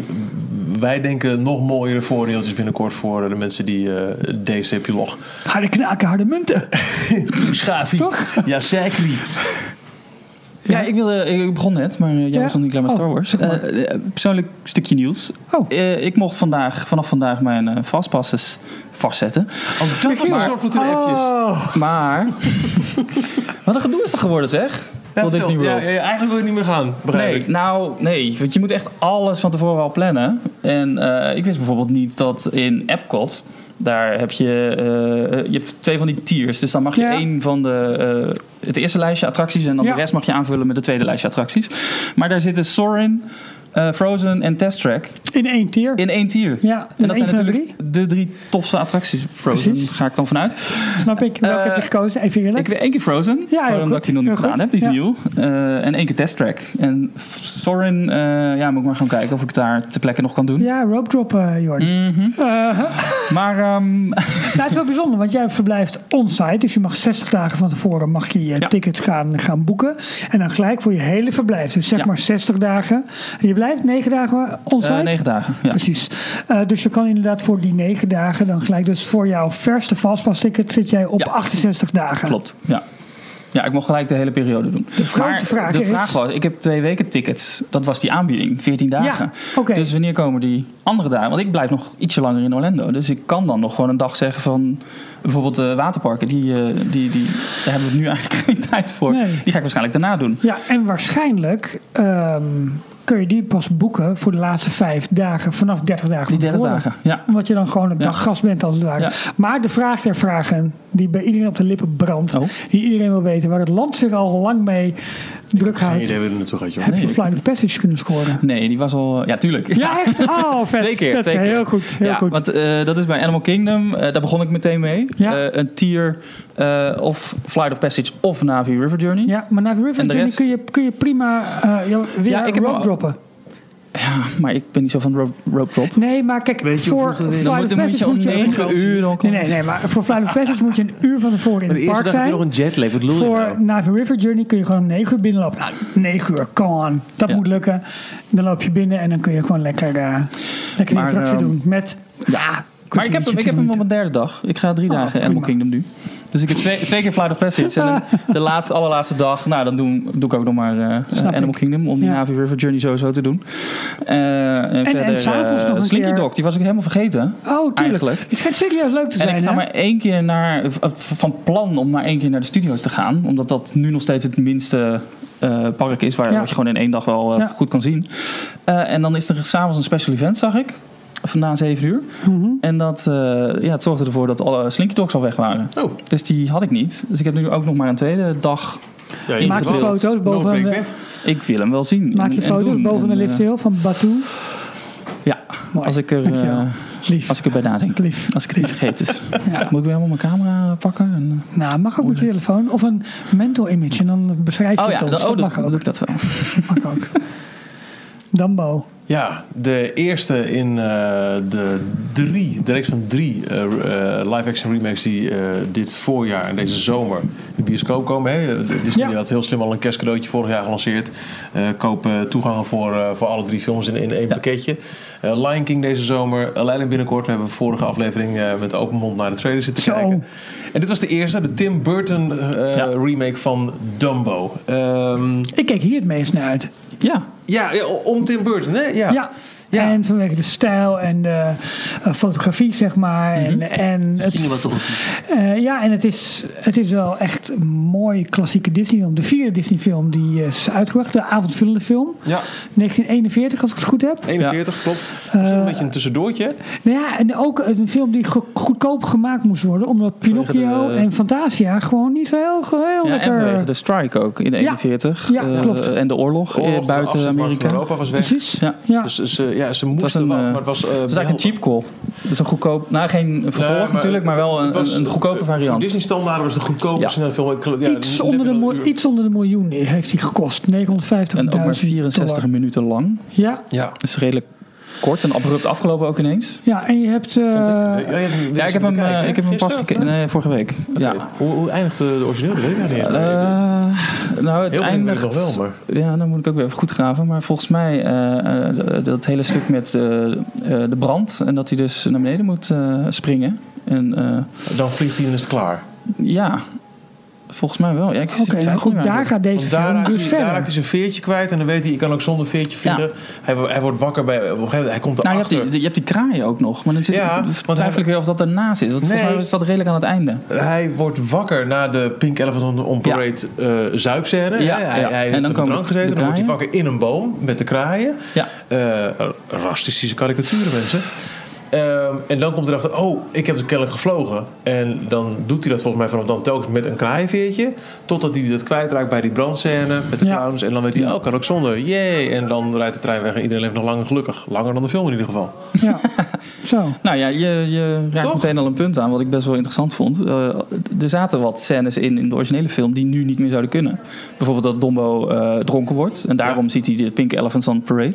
wij denken nog mooiere voordeeltjes binnenkort voor eh, de mensen die eh DC-log Harde knaken, harde munten. toeschaven. Toch? Ja, zeker. Ja, ik, wilde, ik begon net, maar eh, jij Ja. was nog niet klaar met Oh, Star Wars. zeg maar. Eh, eh, persoonlijk stukje nieuws. Oh. Eh, ik mocht vandaag, vanaf vandaag mijn eh fastpasses vastzetten. Oh, dat was een soort van twee appjes. Maar. *laughs* Wat een gedoe is dat geworden, zeg? Ja, Walt Disney vertel. World. Ja, ja, eigenlijk wil je niet meer gaan, begrijp Nee, ik. nou, nee. Want je moet echt alles van tevoren al plannen. En eh, ik wist bijvoorbeeld niet dat in Epcot... Daar heb je, eh, je hebt twee van die tiers. Dus dan mag je Ja. één van de, eh, het eerste lijstje attracties... en dan Ja. de rest mag je aanvullen met het tweede lijstje attracties. Maar daar zitten Sorin, eh, Frozen en Test Track In één tier. in één tier. Ja, dus en één dat zijn van de natuurlijk de drie tofste attracties. Frozen Precies. ga ik dan vanuit. Snap ik. Welke Eh, heb je gekozen? Even eerlijk. Ik weet één keer Frozen, heel waarom goed. dat ik die nog Heel niet gedaan goed. heb, die is Ja. nieuw. Eh, en één keer Test Track. En F- Sorin, eh, ja, moet ik maar gaan kijken of ik het daar ter plekke nog kan doen. Ja, rope drop, eh Jorn. Mm. Eh, Maar ehm, nou, het is wel bijzonder, want jij verblijft on-site. Dus je mag 60 dagen van tevoren mag je je Ja. tickets gaan, gaan boeken. En dan gelijk voor je hele verblijf. Dus zeg Ja. maar 60 dagen. En je blijft 9 dagen on-site? eh, negen dagen. Ja. Precies. Eh, dus je kan inderdaad voor die 9 dagen dan gelijk. Dus voor jouw verste fastpass ticket zit jij op Ja. 68 dagen. Klopt, ja. Ja, ik mocht gelijk de hele periode doen. De grote maar vraag de is- vraag was, ik heb twee weken tickets. Dat was die aanbieding, 14 dagen. oké. Dus wanneer komen die andere dagen? Want ik blijf nog ietsje langer in Orlando. Dus ik kan dan nog gewoon een dag zeggen van... Bijvoorbeeld de waterparken, die, eh, die, die, daar hebben we nu eigenlijk *laughs* geen tijd voor. Nee. Die ga ik waarschijnlijk daarna doen. Ja, en waarschijnlijk ehm, kun je die pas boeken voor de laatste vijf dagen vanaf 30 dagen. Die van 30 tevoren. dagen, ja. Omdat je dan gewoon een Ja. daggast bent als het ware. Ja. Maar de vraag der vragen die bij iedereen op de lippen brandt. Oh. Die iedereen wil weten. Waar het land zich al lang mee druk Geen houdt. idee waar je naartoe gaat, joh. Heb je Flight of Passage kunnen scoren? Nee, die was al... Ja, tuurlijk. *laughs* Ja, echt? Oh, vet. Twee keer, vet. twee keer. Heel goed, heel ja, goed. want eh, dat is bij Animal Kingdom. eh, daar begon ik meteen mee. Ja. Eh, een tier eh, of Flight of Passage of Navi River Journey. ja, maar naar River En de Journey rest- kun, je, kun je prima eh, ja, weer Ja, ik heb rope al- droppen. Maar ik ben niet zo van rope, rope drop. Nee, maar kijk, Weet je hoe voor vroeg het is? Flight Dan Dan moet, of dan moet je Passage moet om je... 9 uur al Nee, komen. nee, nee, maar voor Flight of Passage moet je een uur van tevoren in Maar de het eerste park dag heb je nog zijn. een jetlag. Wat bedoel je Voor nou? Navi River Journey kun je gewoon om 9 uur binnenlopen. Nou, 9 uur, come on. Dat Ja. moet lukken. Dan loop je binnen en dan kun je gewoon lekker, eh lekker die Maar, attractie ehm, doen. Met, Ja. Maar ik heb, hem- ik heb hem op mijn derde dag. Ik ga drie Oh, dagen prima. Animal Kingdom nu. Dus ik heb twee, twee keer Flight of Passage. *laughs* En dan de laatste, allerlaatste dag, nou dan doe, doe ik ook nog maar eh, eh, Snap Animal ik. Kingdom. Om die Ja. Navi River Journey sowieso te doen. Eh, en, verder, s'avonds eh, nog een Slinky keer. Dog, die was ik helemaal vergeten. Oh, tuurlijk. Eigenlijk. Het schijnt serieus leuk te zijn, En ik ga hè? maar één keer naar, v- van plan om maar één keer naar de studio's te gaan. Omdat dat nu nog steeds het minste eh, park is waar Ja. wat je gewoon in één dag wel eh, Ja. goed kan zien. Eh, en dan is er s'avonds een special event, zag ik. Vandaan 7 uur. Mhm. En dat eh, ja, het zorgde ervoor dat alle Slinky Dogs al weg waren. Oh, Dus die had ik niet. Dus ik heb nu ook nog maar een tweede dag. ja, je Maak je Ingewikkeld. foto's boven, break de, wet. Ik wil hem wel zien. maak je en- en foto's doen. boven de En, eh, lifthill van Batu. Ja, Mooi. als ik, er, Dankjewel. eh, Lief. als ik erbij nadenk. Lief. Als ik het niet vergeten is. Moet ik weer helemaal mijn camera pakken? En, eh, Nou, mag ook met je telefoon. Of een mental image. En dan beschrijf je Oh ja, het ons. dan, oh, dat dan mag ook. doe ik *laughs* dat wel. Mag ook. Dumbo. Ja, de eerste in eh, de drie, de reeks van drie eh, live-action remakes die eh, dit voorjaar en deze zomer de bioscoop komen. Hè? Eh, Disney Ja. had heel slim al een kerstcadeautje vorig jaar gelanceerd. Eh, koop eh, toegangen voor, eh, voor alle drie films in, in één pakketje. Eh, Lion King deze zomer, Aladdin binnenkort. We hebben vorige aflevering eh, met open mond naar de trailer zitten Zo. kijken. En dit was de eerste, de Tim Burton eh, Ja. remake van Dumbo. Ehm, Ik kijk hier het meest naar uit. Ja, ja, ja, om Tim Burton, hè? Ja. Ja. En vanwege de stijl en de eh, fotografie, zeg maar. Mhm. En, en het, Eh, ja, en het is, het is wel echt een mooie klassieke Disney-film. De vierde Disney-film die is uitgebracht. De avondvullende film. Ja. 1941, als ik het goed heb. 41, klopt. Dat Eh, is een beetje een tussendoortje. Nou ja, en ook een film die go- goedkoop gemaakt moest worden. Omdat Vanwege Pinocchio de- eh, en Fantasia gewoon niet zo heel, heel ja en Oh, lekker... vanwege de strike ook in 41. Ja, eh, klopt. En de oorlog, eh, Oorlog, de buiten afzetmarkt van Amerika. Europa was weg. Precies. Ja. ja. Dus ze, ja, ze was moesten een, wat, eh, maar het was... eh, Dat is eigenlijk een cheap call. Dat is een goedkoop, nou geen vervolg Nee, maar natuurlijk, maar wel een, het was- een, een goedkope Voor variant. Disney standaarden was de goedkope Ja. snelfilm. Ik- Ja, iets, net onder de een miljoen, uur. iets onder de miljoen heeft hij gekost. 950.000 en ook maar 64 dollar. minuten lang. Ja, Ja. Dat is redelijk kort en abrupt afgelopen ook ineens. ja, en je hebt... eh, Ja, ik heb hem, eh, ik heb hem pas gekeken. Nee, vorige week. Ja. Hoe, hoe eindigt eh, de origineel? Dat weet ik eigenlijk niet. Eh, nou, het Heel veel eindigt... weet ik nog wel, Ja, dan moet ik ook weer even goed graven. Maar volgens mij eh, eh, d- dat hele stuk met eh, eh, de brand... en dat hij dus naar beneden moet eh, springen. En eh, Dan vliegt hij en is het klaar. ja... Volgens mij wel. Ja, ik Oké, nou goed, daar gaat deze Want daar film raakt, dus hij, daar verder. raakt hij zijn veertje kwijt en dan weet hij, ik kan ook zonder veertje vliegen. Ja. Hij, wo- hij wordt wakker bij, op een gegeven moment, hij komt Nou, je hebt, erachter. die, je hebt die kraaien ook nog. Maar dan zit Ja, ik- want twijfel hij- ik weer of dat daarna zit. Want Nee. volgens mij is dat redelijk aan het einde. Hij wordt wakker na de Pink Elephant on, on Parade eh zuipscène. Ja, Ja, hij, ja. hij En heeft dan op de komen drank gezeten. de Dan wordt hij kraaien. wakker in een boom met de kraaien. Ja. Eh, rastische karikaturen, mensen. Ehm, en dan komt hij erachter, oh, ik heb de kelk gevlogen. En dan doet hij dat volgens mij vanaf dan telkens met een kraaienveertje. Totdat hij dat kwijtraakt bij die brandscène met de Ja. clowns. En dan weet hij, oh, kan ook zonder. Yay! En dan rijdt de trein weg en iedereen leeft nog lang en gelukkig. Langer dan de film in ieder geval. *laughs* Ja. Zo. Nou ja, je, je raakt Toch? meteen al een punt aan wat ik best wel interessant vond. Eh, er zaten wat scènes in, in de originele film die nu niet meer zouden kunnen. Bijvoorbeeld dat Dombo eh, dronken wordt. En daarom ziet hij de Pink Elephants on Parade.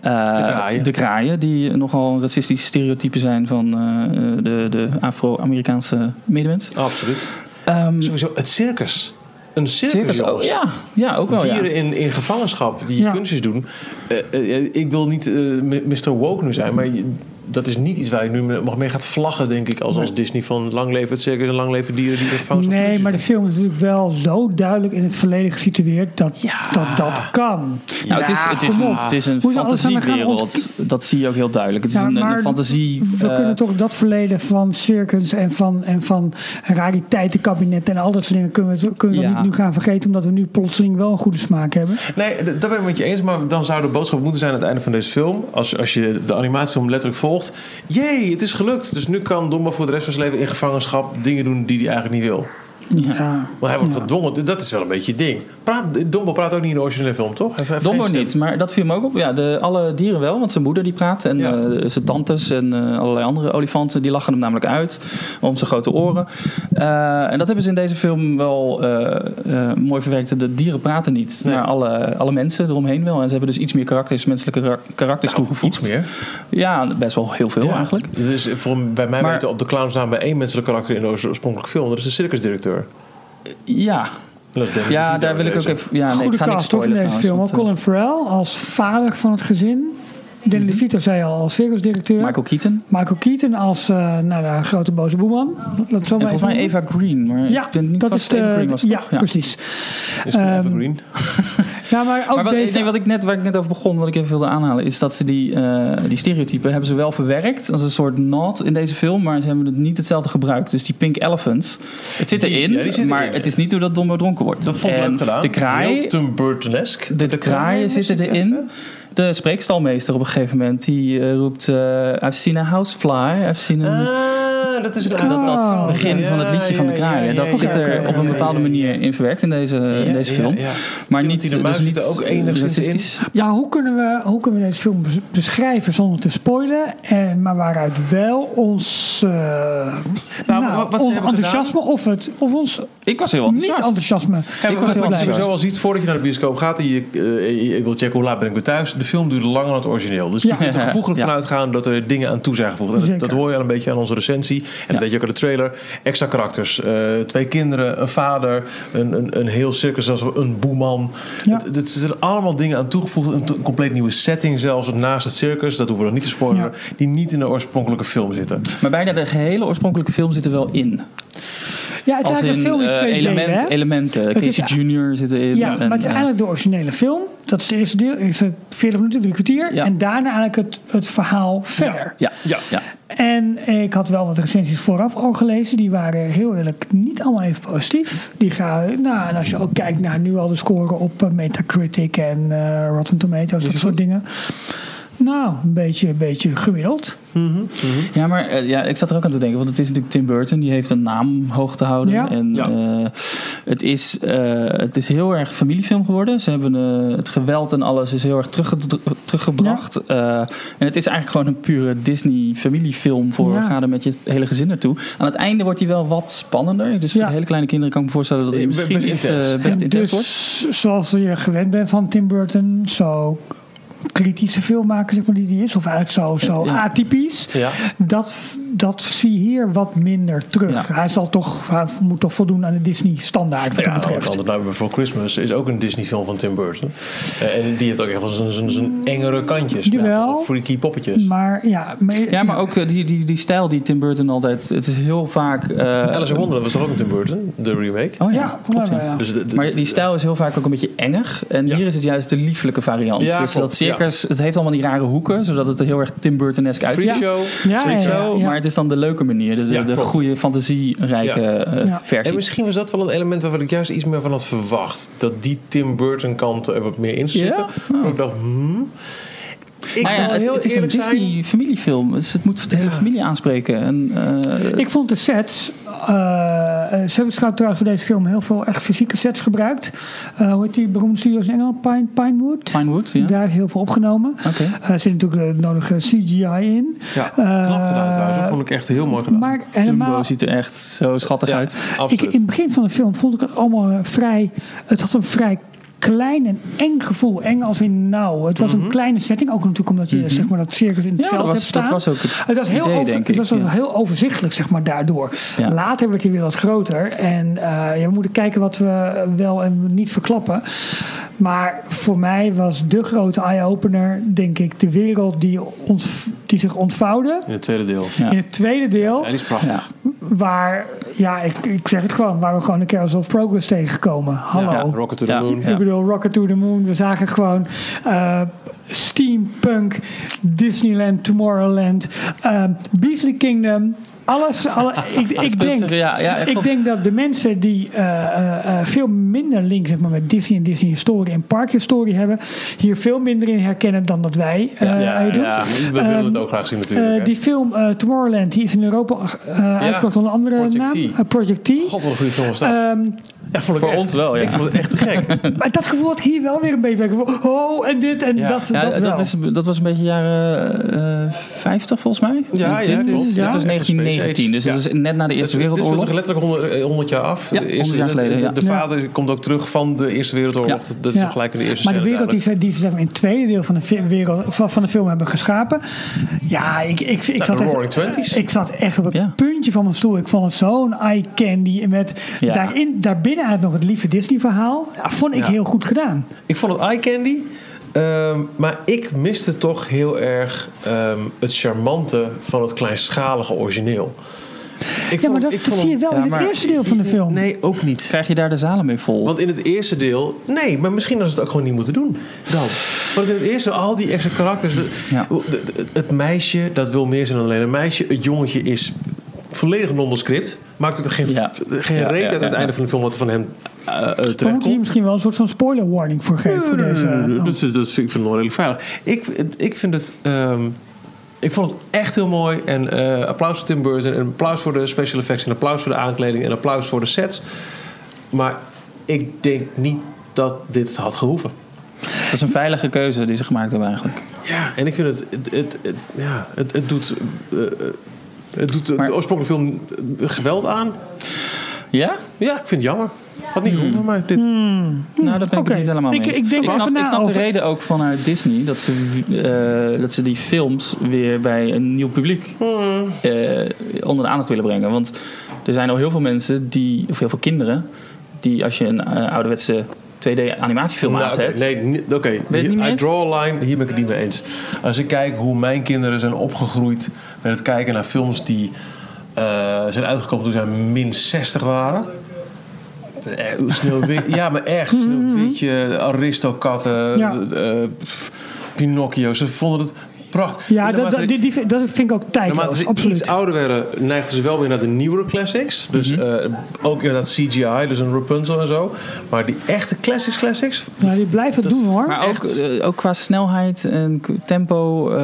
Eh, de, kraaien. kraaien, die nogal een racistisch stereotype zijn van eh, eh, de, de Afro-Amerikaanse medemens. Absoluut. Ehm, Sowieso het circus. Een circus, circus, oh, jongens. ja, ja, ook wel. Ja. dieren in, in gevangenschap die Ja. kunstjes doen. Eh, eh, ik wil niet eh, m- Mr. Woke nu zijn, maar je- dat is niet iets waar je nu nog mee gaat vlaggen, denk ik. Als, als Disney van lang leven het circus en lang leven dieren die in gevangenschap Nee, kunstjes maar de doen. film is natuurlijk wel zo duidelijk in het verleden gesitueerd dat dat, dat kan. Nou, het, is, het, is kom een, op. het is een Hoe ze alles hebben gaan fantasiewereld. Dat zie je ook heel duidelijk. Het is Ja, een, maar een fantasie. We eh, kunnen toch dat verleden van circus en van, en van rariteitenkabinetten en al dat soort dingen kunnen we, kunnen we Ja. dat niet nu gaan vergeten omdat we nu plotseling wel een goede smaak hebben. Nee, d- daar ben ik met je eens. Maar dan zou de boodschap moeten zijn aan het einde van deze film. Als, als je de animatiefilm letterlijk volgt. Jee, het is gelukt. Dus nu kan Domba voor de rest van zijn leven in gevangenschap dingen doen die hij eigenlijk niet wil. ja. Ja. Maar hij wordt gedwongen. Dat is wel een beetje het ding. Praat, Dombo praat ook niet in de originele film, toch? Hij heeft geen Dombo stem. niet, maar dat viel me ook op. Ja, de, alle dieren wel, want zijn moeder die praat. En Ja. eh, zijn tantes en eh, allerlei andere olifanten, die lachen hem namelijk uit. Om zijn grote oren. Eh, en dat hebben ze in deze film wel eh, eh, mooi verwerkt. De dieren praten niet, Nee. maar alle, alle mensen eromheen wel. En ze hebben dus iets meer karakters, menselijke kara- karakters Nou, toegevoegd. Iets meer. Ja, best wel heel veel Ja. eigenlijk. Dus voor, bij mij Maar- weten op de clowns naam bij één menselijk karakter in de oorspronkelijke film. Dat is de circusdirecteur. Ja, En dat is Danny ja DeVito daar wil ik ook deze. even... Ja, nee, ik goede ga niks cast toch in spoilen deze trouwens, film. want, Ook eh, Colin Farrell als vader van het gezin. Danny DeVito zei al als circusdirecteur. Michael, Mhm. Michael Keaton. Keaton als eh, nou, de grote boze boeman. Dat zo En volgens mij Eva Green. Maar Ja, ik ben niet dat vast is Eva de, Green was, ja, toch? precies. Is de Ehm, Evergreen. Ja, maar ook Maar wat, deze. nee, wat ik net, waar ik net over begon, wat ik even wilde aanhalen, is dat ze die, eh, die stereotypen hebben ze wel verwerkt als een soort nod in deze film, maar ze hebben het niet hetzelfde gebruikt. Dus die Pink Elephants, het zit Die- erin, ja, die zitten maar erin. het is niet hoe dat Dombo dronken wordt. Dat vond ik En leuk gedaan. De kraai, Heel Tim Burton-esque. de, de kraaien zitten erin. De spreekstalmeester op een gegeven moment, die eh, roept, eh I've seen a housefly, I've seen a... Ah, dat is het Dat, dat Oh, begin oké. van het liedje Ja, van de ja, ja, kraaien. ja, Dat ja, zit ja, er ja, op een ja, bepaalde ja, manier in verwerkt in deze, in deze film. Maar niet, de Muis dus niet zit er ook enigszins in. racistisch. Ja, hoe kunnen, we, hoe kunnen we deze film bes- beschrijven zonder te spoilen? En, maar waaruit wel ons, eh, nou, wat- wat ze ons hebben enthousiasme of, het, of ons Ik was heel enthousiast. niet-enthousiasme. Ik was heel wat je blij. sowieso al ziet voordat je naar de bioscoop gaat en je, eh, je wil checken hoe laat ben ik weer thuis. De film duurde langer dan het origineel. Dus *laughs* Ja. je kunt er gevoeglijk Ja. van uitgaan dat er dingen aan toe zijn gevoegd. En dat, Zeker. dat hoor je al een beetje aan onze recensie. En dat weet je ook aan de trailer. Extra karakters. eh, twee kinderen, een vader, een, een, een heel circus, als een boeman. Ja. Het- Het er zijn allemaal dingen aan toegevoegd. Een to- compleet nieuwe setting zelfs naast het circus. Dat hoeven we nog niet te spoileren. Ja. Die niet in de oorspronkelijke film zitten. Maar bijna de gehele oorspronkelijke film zit er wel in. Ja, het is Als eigenlijk in een film in eh, twee element, delen. hè? elementen. Het is- Casey Jr. zit erin. Ja, en, maar het is eh, eigenlijk de originele film. Dat is het eerste deel, eerste 40 minuten, drie kwartier. Ja. En daarna eigenlijk het, het verhaal verder. ja, ja, ja. En ik had wel wat recensies vooraf al gelezen. Die waren heel eerlijk niet allemaal even positief. Die gaan, nou, en als je ook kijkt naar nu al de scoren op eh, Metacritic en eh, Rotten Tomatoes, dat soort dingen. Nou, een beetje, een beetje gemiddeld. Ja, maar eh, ja, ik zat er ook aan te denken. Want het is natuurlijk Tim Burton. Die heeft een naam hoog te houden. Ja. En Ja. eh, het, is, eh, het is heel erg familiefilm geworden. Ze hebben eh, het geweld en alles is heel erg teruggedr- teruggebracht. Eh, en het is eigenlijk gewoon een pure Disney familiefilm. Voor Ja. ga er met je hele gezin naartoe. Aan het einde wordt hij wel wat spannender. Dus voor Ja. de hele kleine kinderen kan ik me voorstellen dat hij Eh, best misschien iets, eh, intens. best En intens wordt. dus, zoals je gewend bent van Tim Burton, zo kritische filmmaker zeg maar, die die is, of uit zo, zo Ja. atypisch. Ja. Dat, dat zie je hier wat minder terug. Ja. Hij, zal toch, hij moet toch voldoen aan de Disney-standaard wat Ja, dat want betreft. Altijd Nightmare Before Christmas is ook een Disney-film van Tim Burton. Eh, en die heeft ook echt wel zijn- zijn- zijn engere kantjes. met Mm. Jawel. allemaal freaky poppetjes. Maar ja, maar, Ja, maar ook eh, die, die, die stijl die Tim Burton altijd... Het is heel vaak... eh, Alice in Wonderland was toch ook een Tim Burton, de remake? Oh ja, Ja, klopt. ja. ja, ja. Dus de- de- Maar die stijl is heel vaak ook een beetje engig. En Ja. hier is het juist de liefelijke variant. Ja, dus klopt, dat circus, het heeft allemaal die rare hoeken, zodat het er heel erg Tim Burton-esque uitziet. Freakshow. Ja, Freak ja, ja, show, ja. maar het is dan de leuke manier. De, de, Ja, de klopt. goede, fantasierijke Ja. eh, Ja. versie. En misschien was dat wel een element waarvan ik juist iets meer van had verwacht. Dat die Tim Burton kant er wat meer in zit. Ja? Maar ik dacht, hmm. Ik Maar ja, zal het, heel het is een eerlijk zijn. Disney-familiefilm. Dus het moet de hele familie aanspreken. En, eh, Ik vond de sets. eh, eh, ze hebben trouwens trouwens voor deze film heel veel echt fysieke sets gebruikt. Eh, hoe heet die beroemde studio's in Engeland? Pine, Pinewood. Pinewood, ja. Daar is heel veel opgenomen. Oké. Eh, er zit natuurlijk eh, nodige CGI in. Ja, Eh, knap gedaan trouwens. Dat vond ik echt heel mooi gedaan. Maar Dumbo helemaal, ziet er echt zo schattig ja, uit. ik, absoluut. in het begin van de film vond ik het allemaal eh, vrij. Het had een vrij klein en eng gevoel. Eng als in nauw. Het was een kleine setting. Ook natuurlijk omdat je zeg maar, dat circus in het Ja, veld dat hebt was, staan. dat was ook het, Het was heel, idee, over- denk het ik. was wel ja. heel overzichtelijk, zeg maar, daardoor. Ja. Later werd hij weer wat groter. En eh, ja, we moeten kijken wat we wel en niet verklappen. Maar voor mij was de grote eye-opener, denk ik, de wereld die, ons, die zich ontvouwde. In het tweede deel. Ja. In het tweede deel, Ja, die is prachtig. Ja. waar, ja, ik, ik zeg het gewoon, waar we gewoon een Carousel of Progress tegenkomen. Hallo. Ja. Rocket to the Ja. Moon. Ja. Ik bedoel, Rocket to the Moon. We zagen gewoon eh, steampunk, Disneyland, Tomorrowland, eh, Beasley Kingdom. Alles, alle, *laughs* ik, ik, speelt denk, zich- ja, ja, ik klopt. denk dat de mensen die eh, eh, eh, veel minder link zeg maar, met Disney en Disney historie en parkhistorie hebben, hier veel minder in herkennen dan dat wij eh, Ja, doen. ja, we willen Ehm, het ook graag zien natuurlijk. eh, hè. die film eh, Tomorrowland, die is in Europa eh, uitgebracht onder een andere Project naam. T. Eh, Project T. God, wat een goede film was dat. Ehm, Ja, vond ik voor echt- ons wel, ja. Ik vond het echt te gek. maar dat gevoel had ik hier wel weer een beetje bij. Oh, en dit en Ja. dat. Ja, dat, dat, wel. is, dat was een beetje jaren eh 50 volgens mij. Ja, ja, dit klopt. Ja, is, dit is echt een space 1919, dus age. Dus- dat is net na de Eerste Dit speelt zich Wereldoorlog. letterlijk 100, 100 jaar af. Ja, De 100 jaar geleden, de- De, ja. vader komt ook terug van de Eerste Wereldoorlog. Ja. Dat is Ja. gelijk in de eerste Maar de scène wereld die ze, die ze zeg maar in het tweede deel van de, fi- wereld, van, van de film hebben geschapen. Ja, ik, ik, ik, zat, Nou, de echt, Roaring Twenties. ik zat echt op het Ja. puntje van mijn stoel. Ik vond het zo'n eye candy. Met Ja. daarin, daarbinnen uit nog het lieve Disney verhaal. Ja, vond ik Ja. heel goed gedaan. Ik vond het eye candy. ehm, maar ik miste toch heel erg ehm, het charmante van het kleinschalige origineel. Ik Ja, maar dat zie je wel ja, in het maar- eerste deel van de film. Nee, ook niet. Krijg je daar de zalen mee vol? Want in het eerste deel, nee, maar misschien hadden ze het ook gewoon niet moeten doen. Dan. Want in het eerste, al die extra karakters. de- Ja. de- de- het meisje, dat wil meer zijn dan alleen een meisje. Het jongetje is volledig nondescript. Maakt het er geen, Ja. geen Ja, reet ja, uit aan ja, het ja. einde van de film wat er van hem eh, eh, We terecht moeten hier komt. misschien wel een soort van spoiler warning voor geven. voor deze, Nee, nee, eh, nee, oh. Dat, dat vind ik vind het nog redelijk veilig. Ik, ik vind het... ehm, ik vond het echt heel mooi. En eh, applaus voor Tim Burton. En applaus voor de special effects. En applaus voor de aankleding. En applaus voor de sets. Maar ik denk niet dat dit had gehoeven. dat is een veilige keuze die ze gemaakt hebben eigenlijk. Ja. En ik vind het... Het, het, het- ja, het, het doet... eh, eh, het doet de- Maar- de oorspronkelijke film eh, geweld aan. Ja? Ja, ik vind het jammer. Had Hmm. niet gehoeven voor mij. Dit. Nou, dat ben ik Oké. het niet helemaal mee. Ik- eens. ik denk ik er snap, even ik na snap over. de reden ook vanuit Disney dat ze, eh, dat ze die films weer bij een nieuw publiek Hm. eh, onder de aandacht willen brengen. Want er zijn al heel veel mensen die, of heel veel kinderen, die als je een eh, ouderwetse 2D animatiefilm Nou, oké, aanzet. nee, niet- oké. het niet mee I eens? draw a line, hier ben ik het niet mee eens. Als ik kijk hoe mijn kinderen zijn opgegroeid met het kijken naar films die eh, zijn uitgekomen toen zij min 60 waren. Eh, Sneeuwwit, *laughs* ja, maar echt. Sneeuwwitje, Aristokatten, Hmm. Ja. eh, pff, Pinocchio. Ze vonden het prachtig. Ja, En dat, naarmate dat, die, die- dat vind ik ook Naarmate tijdloos. ze iets Absoluut. Mhm. ouder werden, neigden ze wel weer naar de nieuwere classics. Dus eh, ook inderdaad CGI, dus een Rapunzel en zo. Maar die echte classics, classics, Nou, die blijven het doen hoor. Maar ook, Echt? eh, ook qua snelheid en k- tempo. eh,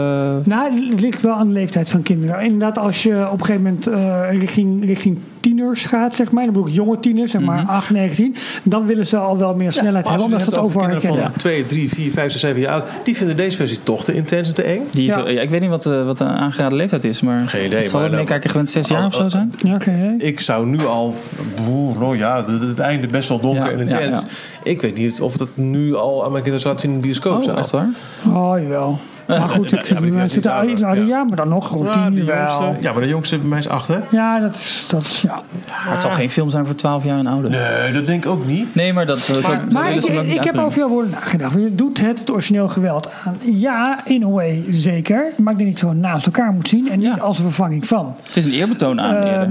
Nou, het ligt wel aan de leeftijd van kinderen. Inderdaad, als je op een gegeven moment eh, richting, richting tieners gaat, zeg maar, dan bedoel ik jonge tieners, zeg maar 8, 19, dan willen ze al wel meer snelheid Maar hebben, Mhm. als omdat je ze het dat hebt over overal kinderen herkennen. van 2, 3, 4, 5, 6, 7 jaar oud. Die vinden deze versie toch te intens en te eng. die is- Ja. ja, ik weet niet wat, eh, wat de aangeraden leeftijd is, maar Geen idee, het zal maar eh, oh, het dan- meekijken gewend zes jaar of zo zijn. Ja, oké. hè? Ik zou nu al... Boe, nou ja, het, het einde best wel donker Ja, en intens. ja, Ik weet niet of dat nu al aan mijn kinderen zou laten zien in de bioscoop. Oh, zou. echt waar? Oh, jawel. Maar *laughs* goed, ik Ja, maar die ja, is zit iets daar iets ouder, ouder. ja. Ja, maar dan nog gewoon Ja, tien de wel. jongste, ja, maar de jongste bij mij is acht, hè? Ja, dat is, dat is ja. Maar het zal geen film zijn voor 12 jaar en ouder. Nee, Nee, dat denk ik ook niet. maar dat... eh, zo- zo willen Maar ik, ze hem ook niet ik heb uitbrengen. over jouw woorden nagedacht. Je doet het, het origineel geweld aan. Ja, in a way zeker. Maar ik denk dat je het gewoon naast elkaar moet zien. En niet Ja. als een vervanging van. Het is een eerbetoon aan eerder. Ehm,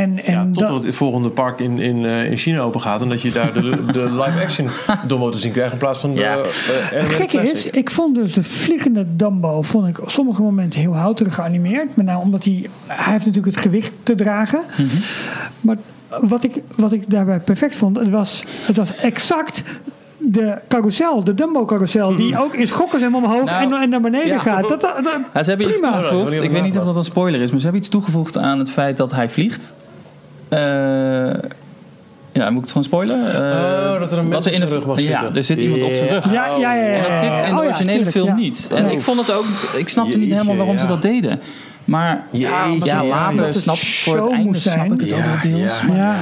en, en Ja, dat- totdat het volgende park in, in, eh, in China open gaat en dat je daar de, de *laughs* live-action Dumbo te zien krijgt in plaats van de Ja. eh, animated Het gekke classic. is, ik vond dus de vliegende Dumbo vond ik op sommige momenten heel houterig geanimeerd. Maar nou, omdat hij, hij heeft natuurlijk het gewicht te dragen. Maar wat ik, wat ik daarbij perfect vond, het was, het was exact de carousel, de Dumbo carousel, die ook in schokken helemaal omhoog Nou, en, en naar beneden ja. gaat. Dat, dat, dat- Ja, ze prima. hebben iets Ja, toegevoegd. wanneer Ik weet niet of vandaag dat een spoiler is, maar ze hebben iets toegevoegd aan het feit dat hij vliegt. Eh, ja, moet ik het gewoon spoilen? Eh, Oh, dat er een mens in op zijn de- rug mag ja, zitten. er zit iemand op zijn Ja. rug. Ja, ja, ja, ja, ja. En dat zit in Oh de ja, originele tuurlijk, film ja. niet. En ik vond het ook, ik snapte niet Jeetje, helemaal waarom ze ja. dat deden. Maar ja, Jeetje, ja, later dat het snap ik voor het zo einde moest snap zijn. ik het ook wel deels. ja. Maar Ja.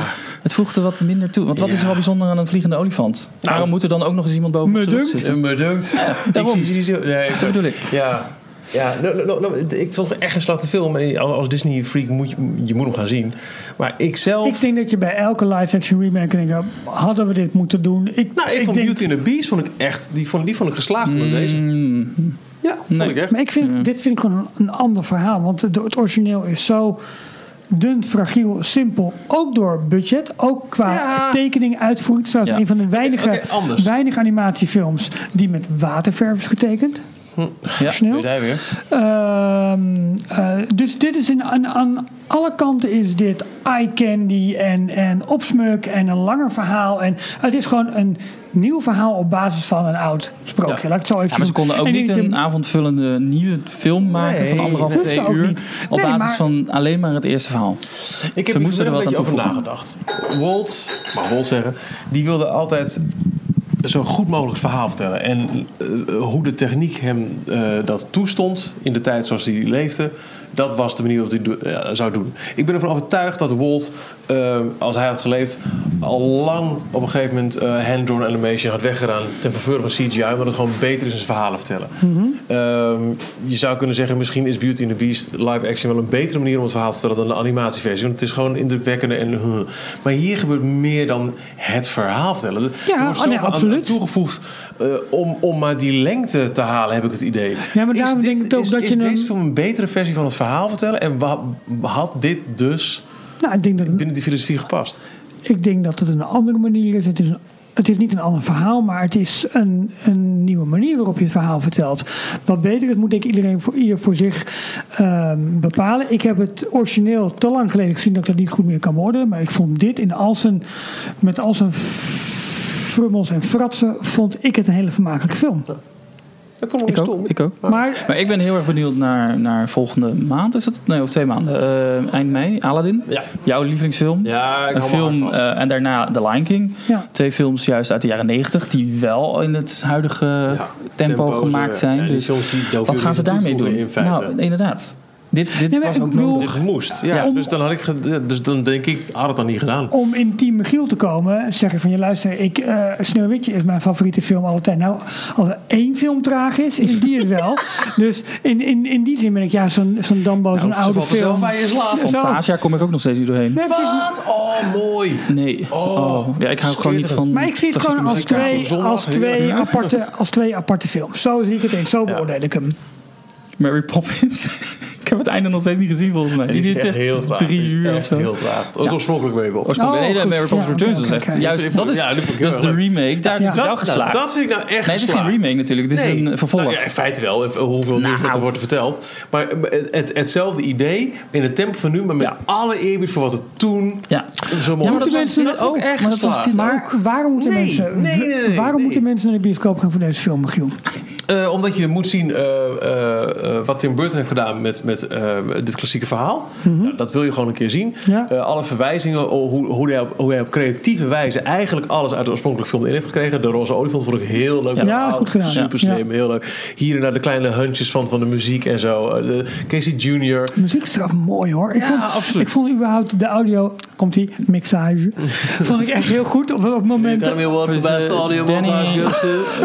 het voegde wat minder toe. Want wat is er Ja. wel bijzonder aan een vliegende olifant? Waarom moet er dan ook nog eens iemand boven op Me zijn rug dunkt. zitten? Eh, Bedankt. daarom. Ik zie die zo. Nee, Dat bedoel ik. Ja. Ja, nou, nou, nou, nou, ik vond het echt een slachte film. En als- Als Disney-freak moet je, je moet hem gaan zien. Maar ik zelf... Ik denk dat je bij elke live-action remake denkt, hadden we dit moeten doen? Ik, nou, ik, ik vond denk- Beauty and the Beast vond ik echt... Die vond, die vond ik geslaagd onder deze. Mm, Ja, Nee. vond ik echt. Maar ik vind, dit vind ik gewoon een, een ander verhaal. Want het, het origineel is zo dun, fragiel, simpel. Ook door budget. Ook qua Ja. tekening, uitvoering. Het is trouwens Ja. een van de weinige, Oké, anders. weinige animatiefilms die met waterverf is getekend. Ja. Origineel. Doe jij weer? Ehm, eh, dus dit is een, een- aan alle kanten is dit eye candy en, en opsmuk en een langer verhaal. En het is gewoon een nieuw verhaal op basis van een oud Ja. sprookje. Laat ik het zo even Ja, maar ze doen. konden ook En ik niet denk dat je- een avondvullende nieuwe film maken van Nee, anderhalf, dat twee hoeft ook uur. niet. Op Nee, basis maar- van alleen maar het eerste verhaal. Ik heb Ze hier moesten er vanmiddag wat een beetje aan toevoegen. over nagedacht. Walt, mag Walt zeggen, die wilde altijd zo goed mogelijk het verhaal vertellen. En eh, hoe de techniek hem eh, dat toestond in de tijd zoals hij leefde, dat was de manier waarop hij het do- eh, zou doen. Ik ben ervan overtuigd dat Walt, eh, als hij had geleefd, al lang op een gegeven moment eh, hand-drawn animation had weggedaan ten verveur van CGI, omdat het gewoon beter is in zijn verhalen vertellen. Ehm, je zou kunnen zeggen, misschien is Beauty and the Beast live action wel een betere manier om het verhaal te vertellen dan de animatieversie, want het is gewoon indrukwekkender en huh. Maar hier gebeurt meer dan het verhaal vertellen. Er Ja, wordt oh nee, zoveel aan- absoluut. toegevoegd eh, om, om maar die lengte te halen, heb ik het idee. Ja, maar daarom denk ik ook is, dat is je deze een- film een betere versie van het verhaal vertellen? En wa- had dit dus Nou, ik denk dat binnen die filosofie gepast? Ik denk dat het een andere manier is. Het is, een- het is niet een ander verhaal, maar het is een, een nieuwe manier waarop je het verhaal vertelt. Wat beter is, moet denk ik iedereen voor, ieder voor zich ehm, bepalen. Ik heb het origineel te lang geleden gezien dat ik dat niet goed meer kan worden. Maar ik vond dit in al zijn, met al zijn frummels en fratsen, vond ik het een hele vermakelijke film. Ik vond Ik het ook, ik ook. Maar Maar ik ben heel erg benieuwd naar, naar volgende maand, is dat? Nee, over twee maanden. Eh, eind mei, Aladdin. Ja. Jouw lievelingsfilm. Ja, ik Een hou me film hard vast. eh, en daarna The Lion King. Ja. Twee films juist uit de jaren negentig die wel in het huidige tempo, tempo, gemaakt zo, zijn. eh, ja. Ja, die dus films die Dover wat gaan ze willen daarmee doen? toevoegen in feite. Nou, inderdaad. Dit, dit Ja, maar was ik ook bedoel- nodig. Dit *laughs* moest. Ja, Ja. Dus, dan had ik ge- ja, dus dan denk ik, had het dan niet gedaan. om in Team Michiel te komen, zeg ik van je luister, ik, eh, Sneeuwwitje is mijn favoriete film alle tijd. Nou, als er één film traag is, is die het wel. Dus in, in, in die zin ben ik ja, zo'n zo'n Dumbo, zo'n Nou, Ze oude valt er zelf film. bij je slaap. Ja, zo. *laughs* Fantasia kom ik ook nog steeds niet doorheen. Nee, precies. Wat? Oh, mooi. Nee. Oh, ja, ik hou gewoon niet schitterend. van. Maar ik zie het klassieke gewoon als muziek. Klassieke twee, muziek. als, twee Zondag, ja. aparte, als twee aparte films. Zo zie ik het in, zo beoordeel ik hem. Mary Poppins. *laughs* ik heb het einde nog steeds niet gezien volgens mij. Die duurt is echt heel traag. Drie Die is uur of echt zo. heel traag. Het was oorspronkelijk ben ik op. Oh, nee, nee, goed. Mary Poppins Ja, Returns oké, is echt. oké. Juist, dat is, Ja, die vond ik dat is heel de erg. remake. Daar Ja. is wel geslaagd. dat vind ik nou echt nee, het is geen geslaagd. remake natuurlijk. Dit is een eh, vervolg. Nou. Nou ja, in feite wel, even hoeveel nieuws wat er wordt verteld. Maar eh, het, hetzelfde idee in het tempo van nu, maar met Ja. alle eerbied voor wat het toen Ja. zo mooi Ja, maar was. dat was vond dit ik ook. echt Maar dat was geslaagd. dit Maar waarom moeten, Nee, mensen, nee, nee, nee, waarom nee. moeten mensen naar de bioscoop gaan voor deze film, Michiel? Eh, omdat je moet zien eh, eh, eh, wat Tim Burton heeft gedaan met, met eh, dit klassieke verhaal. Nou, dat wil je gewoon een keer zien. Mhm. Ja. Eh, alle verwijzingen, o- hoe, hoe, hij op, hoe hij op creatieve wijze eigenlijk alles uit de oorspronkelijke film in heeft gekregen. De Roze Olifant vond ik heel leuk. Ja, verhaal. goed gedaan. Super Ja. slim, heel leuk. Hier en daar de kleine hunches van, van de muziek en zo. Eh, de Casey Jr. De muziek is trouwens mooi hoor. Ik, Ja, vond, absoluut. ik vond überhaupt de audio, komt die, mixage, vond ik echt heel goed. Op, op het moment weer worden *laughs* Dus, eh, Danny,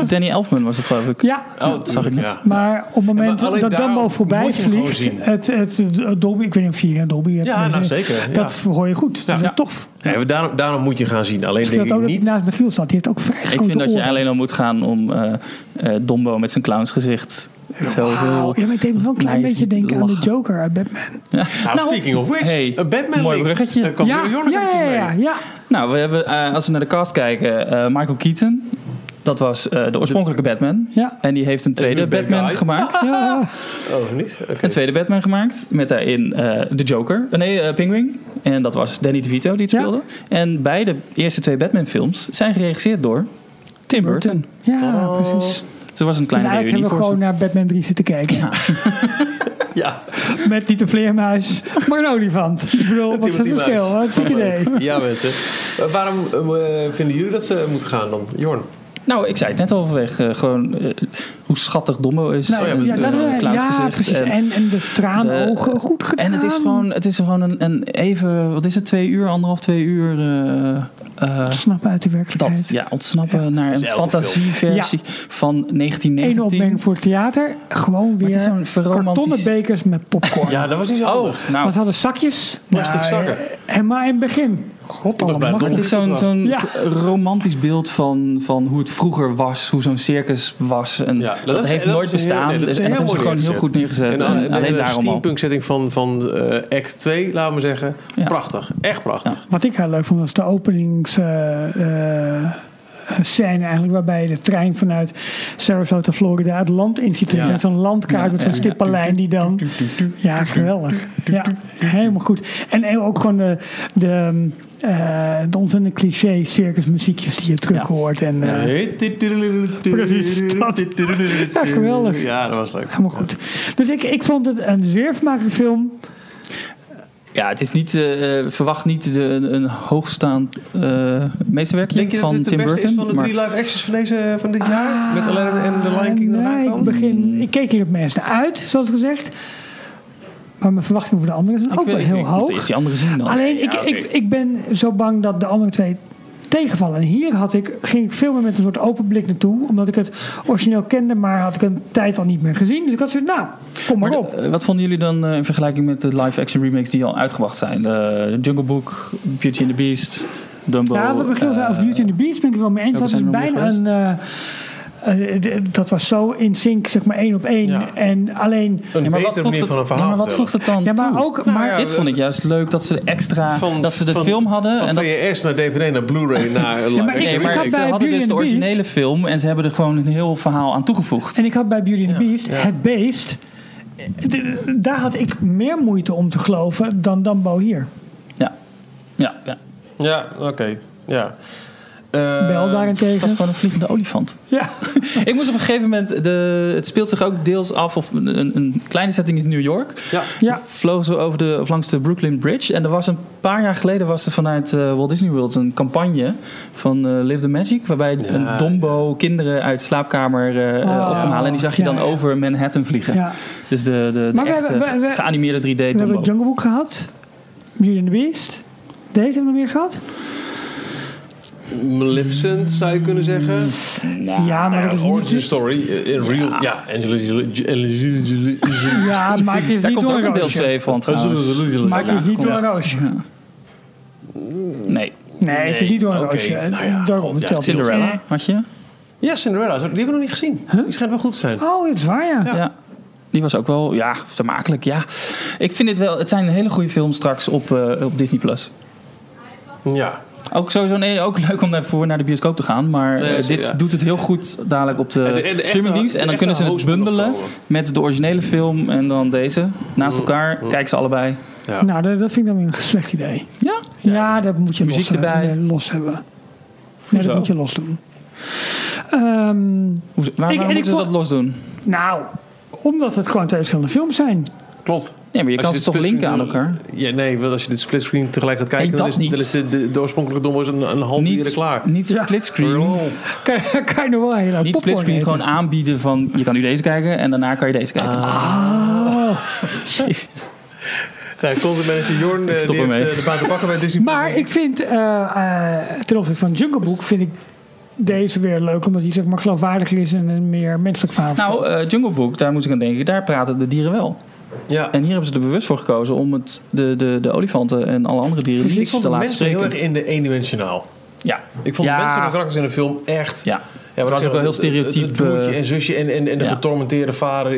Danny Elfman was het geloof ik. Ja, Oh, dat zag ik net. ja. Maar op het moment maar alleen dat daarom Dumbo voorbij moet je hem gewoon vliegt, zien. het, het, het Dolby, ik weet niet of je een Dolby hebt. Ja, maar nou, je- zeker, ja. Dat hoor je goed. Dat Ja. is tof. Ja, maar daarom, daarom moet je gaan zien. Alleen Ik vind denk dat ook ik dat hij niet. naast Michiel staat. Die heeft ook vrij Ik grote vind dat je oren. alleen al moet gaan om eh, eh, Dombo met zijn clownsgezicht. Zo Wauw. heel... Ja, maar ik denk wel een klein Hij is beetje niet denken aan de lachen. Joker uit Batman. Nou, Nou, speaking of which, hey, een Batman mooi link. bruggetje. Daar kwam Ja, New York ja, eventjes ja, mee. ja, ja. Nou, we hebben, eh, als we naar de cast kijken, eh, Michael Keaton. Dat was eh, de oorspronkelijke Batman. Ja. En die heeft een nu tweede een bad Batman guy. gemaakt. Oh, niet? Oké. Een tweede Batman gemaakt. Met daarin eh, de Joker. Eh, nee, eh Penguin. En dat was Danny DeVito die het Ja. speelde. En beide eerste twee Batman films zijn geregisseerd door Tim Burton. Ja, precies. Dus er was een Dus kleine eigenlijk hebben we reunie voor gewoon naar Batman 3 zitten kijken. *laughs* Ja, Met niet de vleermuis, maar een olifant. Ik bedoel, wat is het Timothy verschil? Luis. Wat is het Oh, idee? Ja, mensen. Eh, waarom eh, vinden jullie dat ze moeten gaan dan? Jorn? ze. Nou, ik zei het net al vanweg. eh, gewoon eh, hoe schattig Dombo is. Nou, Oh ja, En met, ja, het, dat eh, is- ja, clownsgezicht. precies. En- En, en de traanogen, goed gedaan. En het is gewoon, het is gewoon een, een even, wat is het, twee uur, anderhalf, twee uur. eh, eh, Snap uit de werkelijkheid. dat, ja, ontsnappen naar een elke fantasieversie van Eén 1919. opmerking voor het theater. Gewoon het is weer zo'n verromantisch- kartonnen bekers met popcorn. Ja, dat was niet zo handig. Oh, nou, Want ze hadden zakjes. Plastic zakken. eh, En maar in het begin. God, bij allemaal. het is zo'n zo'n Ja. romantisch beeld van, van hoe het vroeger was, hoe zo'n circus was. En Ja, dat, is- heeft dat nooit is heel- bestaan. Dus- nee, dat is en dat heel hebben ze mooi gewoon heel goed neergezet. En, En en, alleen de daarom al. steampunk-setting van, van eh, act 2, laten we zeggen. Ja. Prachtig. Echt prachtig. Wat ik heel leuk vond was de openingsscène scène eigenlijk waarbij de trein vanuit Sarasota, Florida het land inziet. Ja. Met zo'n landkaart, Ja, met zo'n ja. stippenlijn die dan... Ja, geweldig. Ja, helemaal goed. En ook gewoon de, de, eh, de ontzettende cliché circusmuziekjes die je terug Ja. hoort. En, eh, Precies, dat. Ja, geweldig. Ja, dat was leuk. Helemaal goed. Dus ik, ik vond het een zeer vermakelijke film. Ja, het is niet, eh, eh, verwacht niet de- een, een hoogstaand eh meesterwerkje Denk je dat van dit de Tim beste Burton. is van de maar- Ah, drie live actions van, deze, van dit jaar? Met Aladdin en The Lion King Ah, eraan nee, ik, komen? Hmm. begin, ik keek er het meeste uit, zoals gezegd. Maar mijn verwachtingen voor de anderen zijn Ik ook weet- wel ik- Oh, heel ik moet hoog. eerst die andere zien dan. Alleen, ik, Ja, oké. ik, ik ben zo bang dat de andere twee tegenvallen. En hier had ik, ging ik veel meer met een soort open blik naartoe. Omdat ik het origineel kende, maar had ik een tijd al niet meer gezien. Dus ik had zoiets, nou, kom maar, Maar op. de- eh, wat vonden jullie dan eh, in vergelijking met de live-action remakes die al uitgebracht zijn? De Jungle Book, Beauty and the Beast, Dumbo. ja, wat Michiel zei eh, over Beauty and the Beast ben ik het wel mee eens. Dat welke is zijn er nog bijna meer een... eh, eh, d- dat was zo in sync, zeg maar één op één. Ja. En alleen... Een ja, maar betere wat voegt manier het, van een ja, verhaal maar wat voegt het dan Ja, maar toe? ook- maar- dit vond ik juist leuk, dat ze de extra, Van- dat ze de van- film hadden. Van en dat, VHS naar DVD, naar Blu-ray, naar live maar action ik- nee, maar had remake. bij ze hadden Beauty and dus de the Beast- originele film en ze hebben er gewoon een heel verhaal aan toegevoegd. En ik had bij Beauty and the Beast, het beest, eh, d- daar had ik meer moeite om te geloven dan Dumbo hier. Ja, ja, ja. Ja, oké. Ja. Eh, Bel Het was daarentegen. gewoon een vliegende olifant. Ja. *laughs* ik moest op een gegeven moment. De, het speelt zich ook deels af. Of een, een- een kleine setting is New York. Ja. Ja. Vlogen ze over de, of langs de Brooklyn Bridge. En er was een paar jaar geleden was er vanuit eh, Walt Disney World een campagne van eh, Live the Magic. Waarbij een dombo kinderen uit slaapkamer eh, eh, Oh, ophalen. En die zag je ja, dan ja. over Manhattan vliegen. Ja. Dus de, de, de Maar we echte hebben- we- we- geanimeerde 3D We hebben dombo. Jungle Book gehad, Beauty and the Beast. Deze hebben we nog meer gehad? Maleficent zou je kunnen zeggen. ja, maar Nou dat ja, is origin niet... story eh, in real. Ja, Angela Jolie- Angela Jolie- *laughs* Ja, maar het is Daar niet komt door ook een een deel roosje. 2 van Angela trouwens. Jolie- Maar het is niet door een roosje. Nee. Nee, het is niet door een oké. roosje. Nou ja, Daarom, god, het ja, telt niet. Cinderella had je? Ja, Cinderella. Die hebben we nog niet gezien. Die schijnt wel goed te zijn. Eh, Oh, dat is waar, ja. Ja. Die was ook wel, ja, vermakelijk, ja. Ik vind het wel, het zijn hele goede films straks op, eh, op Disney+. Plus. Ja. Ook sowieso nee, ook leuk om daarvoor naar de bioscoop te gaan. Maar Nee, eh, zeker, dit ja. doet het heel goed dadelijk op de, de- de echte- streamingdienst. de En dan echte kunnen ze het host moet nog bundelen komen. met de originele film en dan deze. Naast elkaar, kijk ze allebei. Nou, dat dat vind ik dan weer een slecht idee. Ja, Ja, dat moet je Muziek los, hebben- erbij. los hebben. Nee, dat Hoezo? moet je los doen. Ehm, Hoe, waar, waarom en ik moeten ze vond- dat los doen? Nou, omdat het gewoon twee verschillende films zijn. *laughs* Klopt. Nee, maar je kan ze toch linken aan elkaar? Ja, nee, want als je dit splitscreen tegelijk gaat kijken, Nee, dan dat is, dan niet. is de, de, de oorspronkelijke dom is een, een half uur Niet, *laughs* klaar. niet Ja. splitscreen. Kan, kan je nog wel heel Niet splitscreen, gewoon aanbieden van je kan nu deze kijken en daarna kan je deze kijken. *laughs* Jezus. Nou, content manager Jorn eh, stop die heeft ermee. eh, de baan te pakken bij Disney. Maar ik vind, eh, eh, ten opzichte van Jungle Book, vind ik deze weer leuk, omdat hij zeg maar geloofwaardiger is en een meer menselijk verhaal Nou, eh, Jungle Book, daar moet ik aan denken. Daar praten de dieren wel. Ja. En hier hebben ze er bewust voor gekozen om het, de, de, de olifanten en alle andere dieren Dus ik niet vond te de laten mensen spreken. heel erg in de eendimensionaal. Ja. Ik vond ja. de menselijke karakters in de film echt... Ja. Ja, maar Het was ik ook wel heel zeg, het- het- stereotyp, Het, broertje eh, en zusje en, en, en de ja. getormenteerde vader.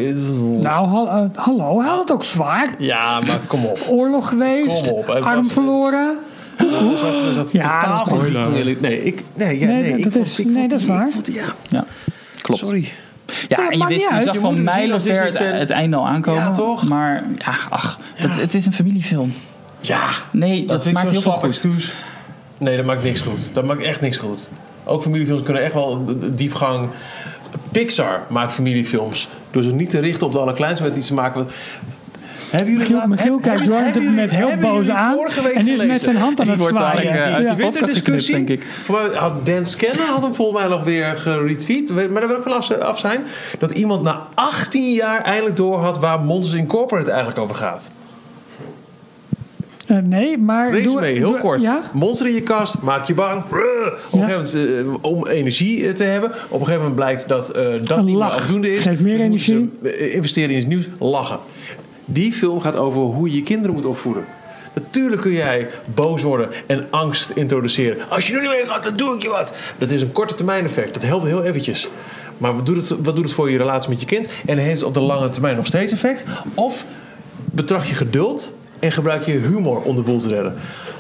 Nou, hal- eh, hallo, hij had het ook zwaar. Ja, maar kom op. Oorlog geweest, Kom op, hè, arm dat- verloren. Er zat, er zat Ja, dat totaal is geen spoiler. diepgang in. Nee, ik, nee, ja, Nee, nee, dat- ik dat vond, is- ik vond nee, dat is die- ik waar. vond die- ja, Ja, klopt. sorry. Ja, en maakt je, wist, niet je uit. zag Je moet hem van zien als mijlen ver het, Disney-fan. het einde al aankomen. dus Ja, toch? Maar ja, ach, dat, het is een familiefilm. Ja, Nee, dat, vind ik maakt zo'n heel veel slap goed. excuus. Nee, dat maakt niks goed. Dat maakt echt niks goed. Ook familiefilms kunnen echt wel d- d- diepgang. Pixar maakt familiefilms door ze niet te richten op de allerkleinste met iets te maken. Wat... Hebben jullie Michiel, laatst- Michiel heb- kijkt hebben- Jorn op dit hebben moment heel jullie- hebben boos jullie aan. vorige week En is met gelezen? zijn hand aan Die het wordt zwaaien. dadelijk, eh, Ja. uit Die de podcast Twitter-discussie. geknipt, denk ik. Voor mij had Dan Scanner had hem volgens mij nog weer geretweet. Maar daar wil ik vanaf af zijn. Dat iemand na 18 jaar eindelijk door had waar Monsters Incorporated eigenlijk over gaat. Eh, nee, maar... doe- Resume, heel doe- kort. Ja? Monster in je kast, maak je bang. Brrr. Op een Ja. gegeven moment, eh, om energie eh, te hebben. Op een gegeven moment blijkt dat eh, dat niet Een meer lach afdoende is. geeft meer Dus moeten energie. ze, eh, investeren in het nieuws, lachen. Die film gaat over hoe je je kinderen moet opvoeden. Natuurlijk kun jij boos worden en angst introduceren. Als je er niet mee gaat, dan doe ik je wat. Dat is een korte termijn effect. Dat helpt heel eventjes. Maar wat doet, het, wat doet het voor je relatie met je kind? En heeft het op de lange termijn nog steeds effect? Of betracht je geduld en gebruik je humor om de boel te redden?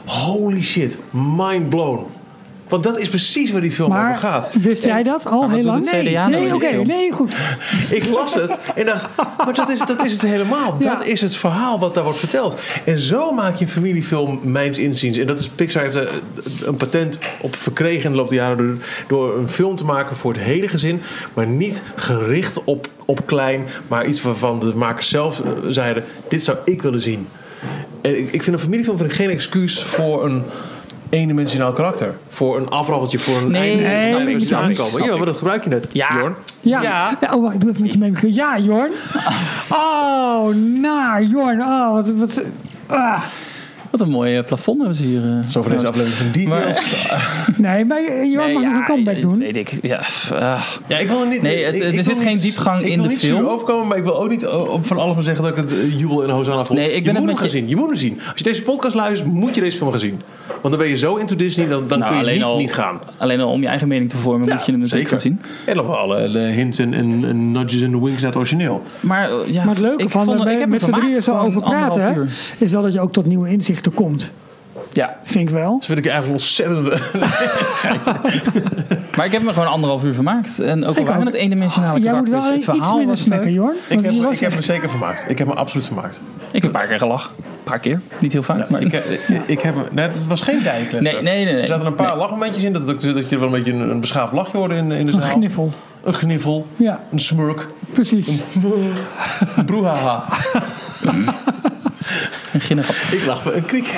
Holy shit, mind blown. Want dat is precies waar die film Maar over gaat. wist jij dat al wat heel doet lang? het Nee, CDA nou in nee die oké, film? nee, goed. Ik las het en dacht, maar dat is, dat is het helemaal. Ja. Dat is het verhaal wat daar wordt verteld. En zo maak je een familiefilm, mijns inziens. En dat is, Pixar heeft er een patent op verkregen in de loop der jaren... Door, door een film te maken voor het hele gezin. Maar niet gericht op, op klein. Maar iets waarvan de makers zelf eh, zeiden, dit zou ik willen zien. En ik, ik vind een familiefilm vind ik geen excuus voor een eendimensionaal karakter. Voor een afraffeltje, voor een Nee, einde. nee, Snap nee, ik, snap nee, ik al. snap Ja, ik. maar dat gebruik je net, Ja. Jorn. Ja. Ja. Nou, Oh, wacht, ik doe even met je mee. beginnen. Ja, Jorn. Oh, naar Jorn. Oh, wat... wat ah. Wat een mooi eh, plafond hebben ze hier. eh, Zo voor deze trouwens. aflevering van Details. Nee, maar eh, Jorn mag nog ja, een comeback dat doen. weet ik. Ja, pff, ah. Ja, ik wil er niet. Nee, het- ik- er ik wil zit niet- geen diepgang in de Ik wil niet film. zuur overkomen, maar ik wil ook niet eh, op van alles maar zeggen dat ik het eh, jubel en hosanna vond. Nee, ik ben je het moet met hem gaan je- zien. Je moet hem zien. Als je deze podcast luistert, moet je deze film gaan zien. Want dan ben je zo into Disney, dan, dan Nou, kun je alleen niet, al- niet gaan. Alleen al om je eigen mening te vormen Ja, moet je hem natuurlijk gaan zien. En nog wel alle de hints en, en, en nudges en winks uit het origineel. Maar, eh, ja, Maar het leuke ik van vond, er het- ik heb met me z'n drieën vermaakt zo gewoon over praten, hè, anderhalf uur. is wel dat je ook tot nieuwe inzichten komt. Ja, Vind ik wel. Dus vind ik je eigenlijk *laughs* ontzettend. maar ik heb me gewoon anderhalf uur vermaakt. En ook al Ik waren ook. het eendimensionale Jij moet karakters, wel dus het alleen iets verhaal minder was leuk. snacken, Jorn. ik Want heb, die was ik heb echt- me zeker vermaakt. Ik heb me absoluut vermaakt. Ik heb een paar keer gelachen. Een paar keer. Niet heel vaak. maar Ik, eh, heb- ik heb, me- nee, het was geen dijkles. Nee, nee, nee, nee. Er zaten een paar Nee. lachmomentjes in. Dat, dat, dat je wel een beetje een, een beschaafd lachje hoorde in, in de een zaal. gniffel. Een gniffel. Ja, Een smurk. precies. Een broehaha. een ginnigap. *laughs* Ik lach een kriek.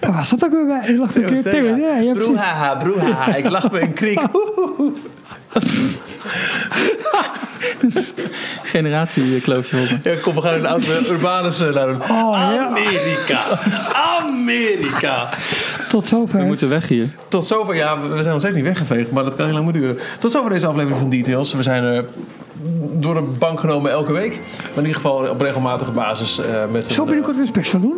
Waar Ah, was dat ook weer bij? Je lag een keer tegen. Ja, ja, precies. Broehaha, broehaha. Ik lach me een kriek. eh, generatiekloofje volgens mij. Ja, kom, we gaan in de auto Urbanus eh, naar een... Oh, ja. Amerika. Amerika. Tot zover. We moeten weg hier. Tot zover. Ja, we we zijn nog steeds niet weggeveegd, maar dat kan heel lang meer duren. Tot zover deze aflevering van Details. We zijn er door de bank genomen elke week. Maar in ieder geval op regelmatige basis eh, met, Zo een, eh, binnenkort weer een special doen.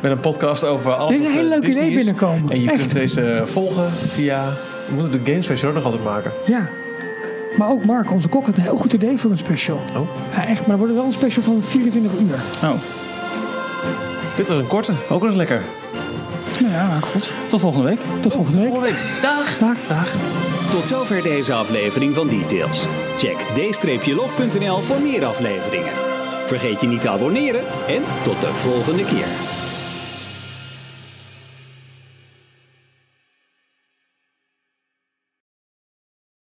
met een podcast over alles Er is een wat, eh, hele leuke Disney idee is. binnenkomen. En je Echt. kunt deze volgen via... We moeten de Game Special ook nog altijd maken. Ja. Maar ook Mark, onze kok, had een heel goed idee voor een special. Oh. Ja, echt, maar er wordt wel een special van 24 uur. Oh, Dit was een korte. Ook nog eens lekker. Nou ja, goed. tot volgende week. Tot volgende week. Volgende week. Dag. Dag. Tot zover deze aflevering van Details. Check d-log.nl voor meer afleveringen. Vergeet je niet te abonneren en tot de volgende keer.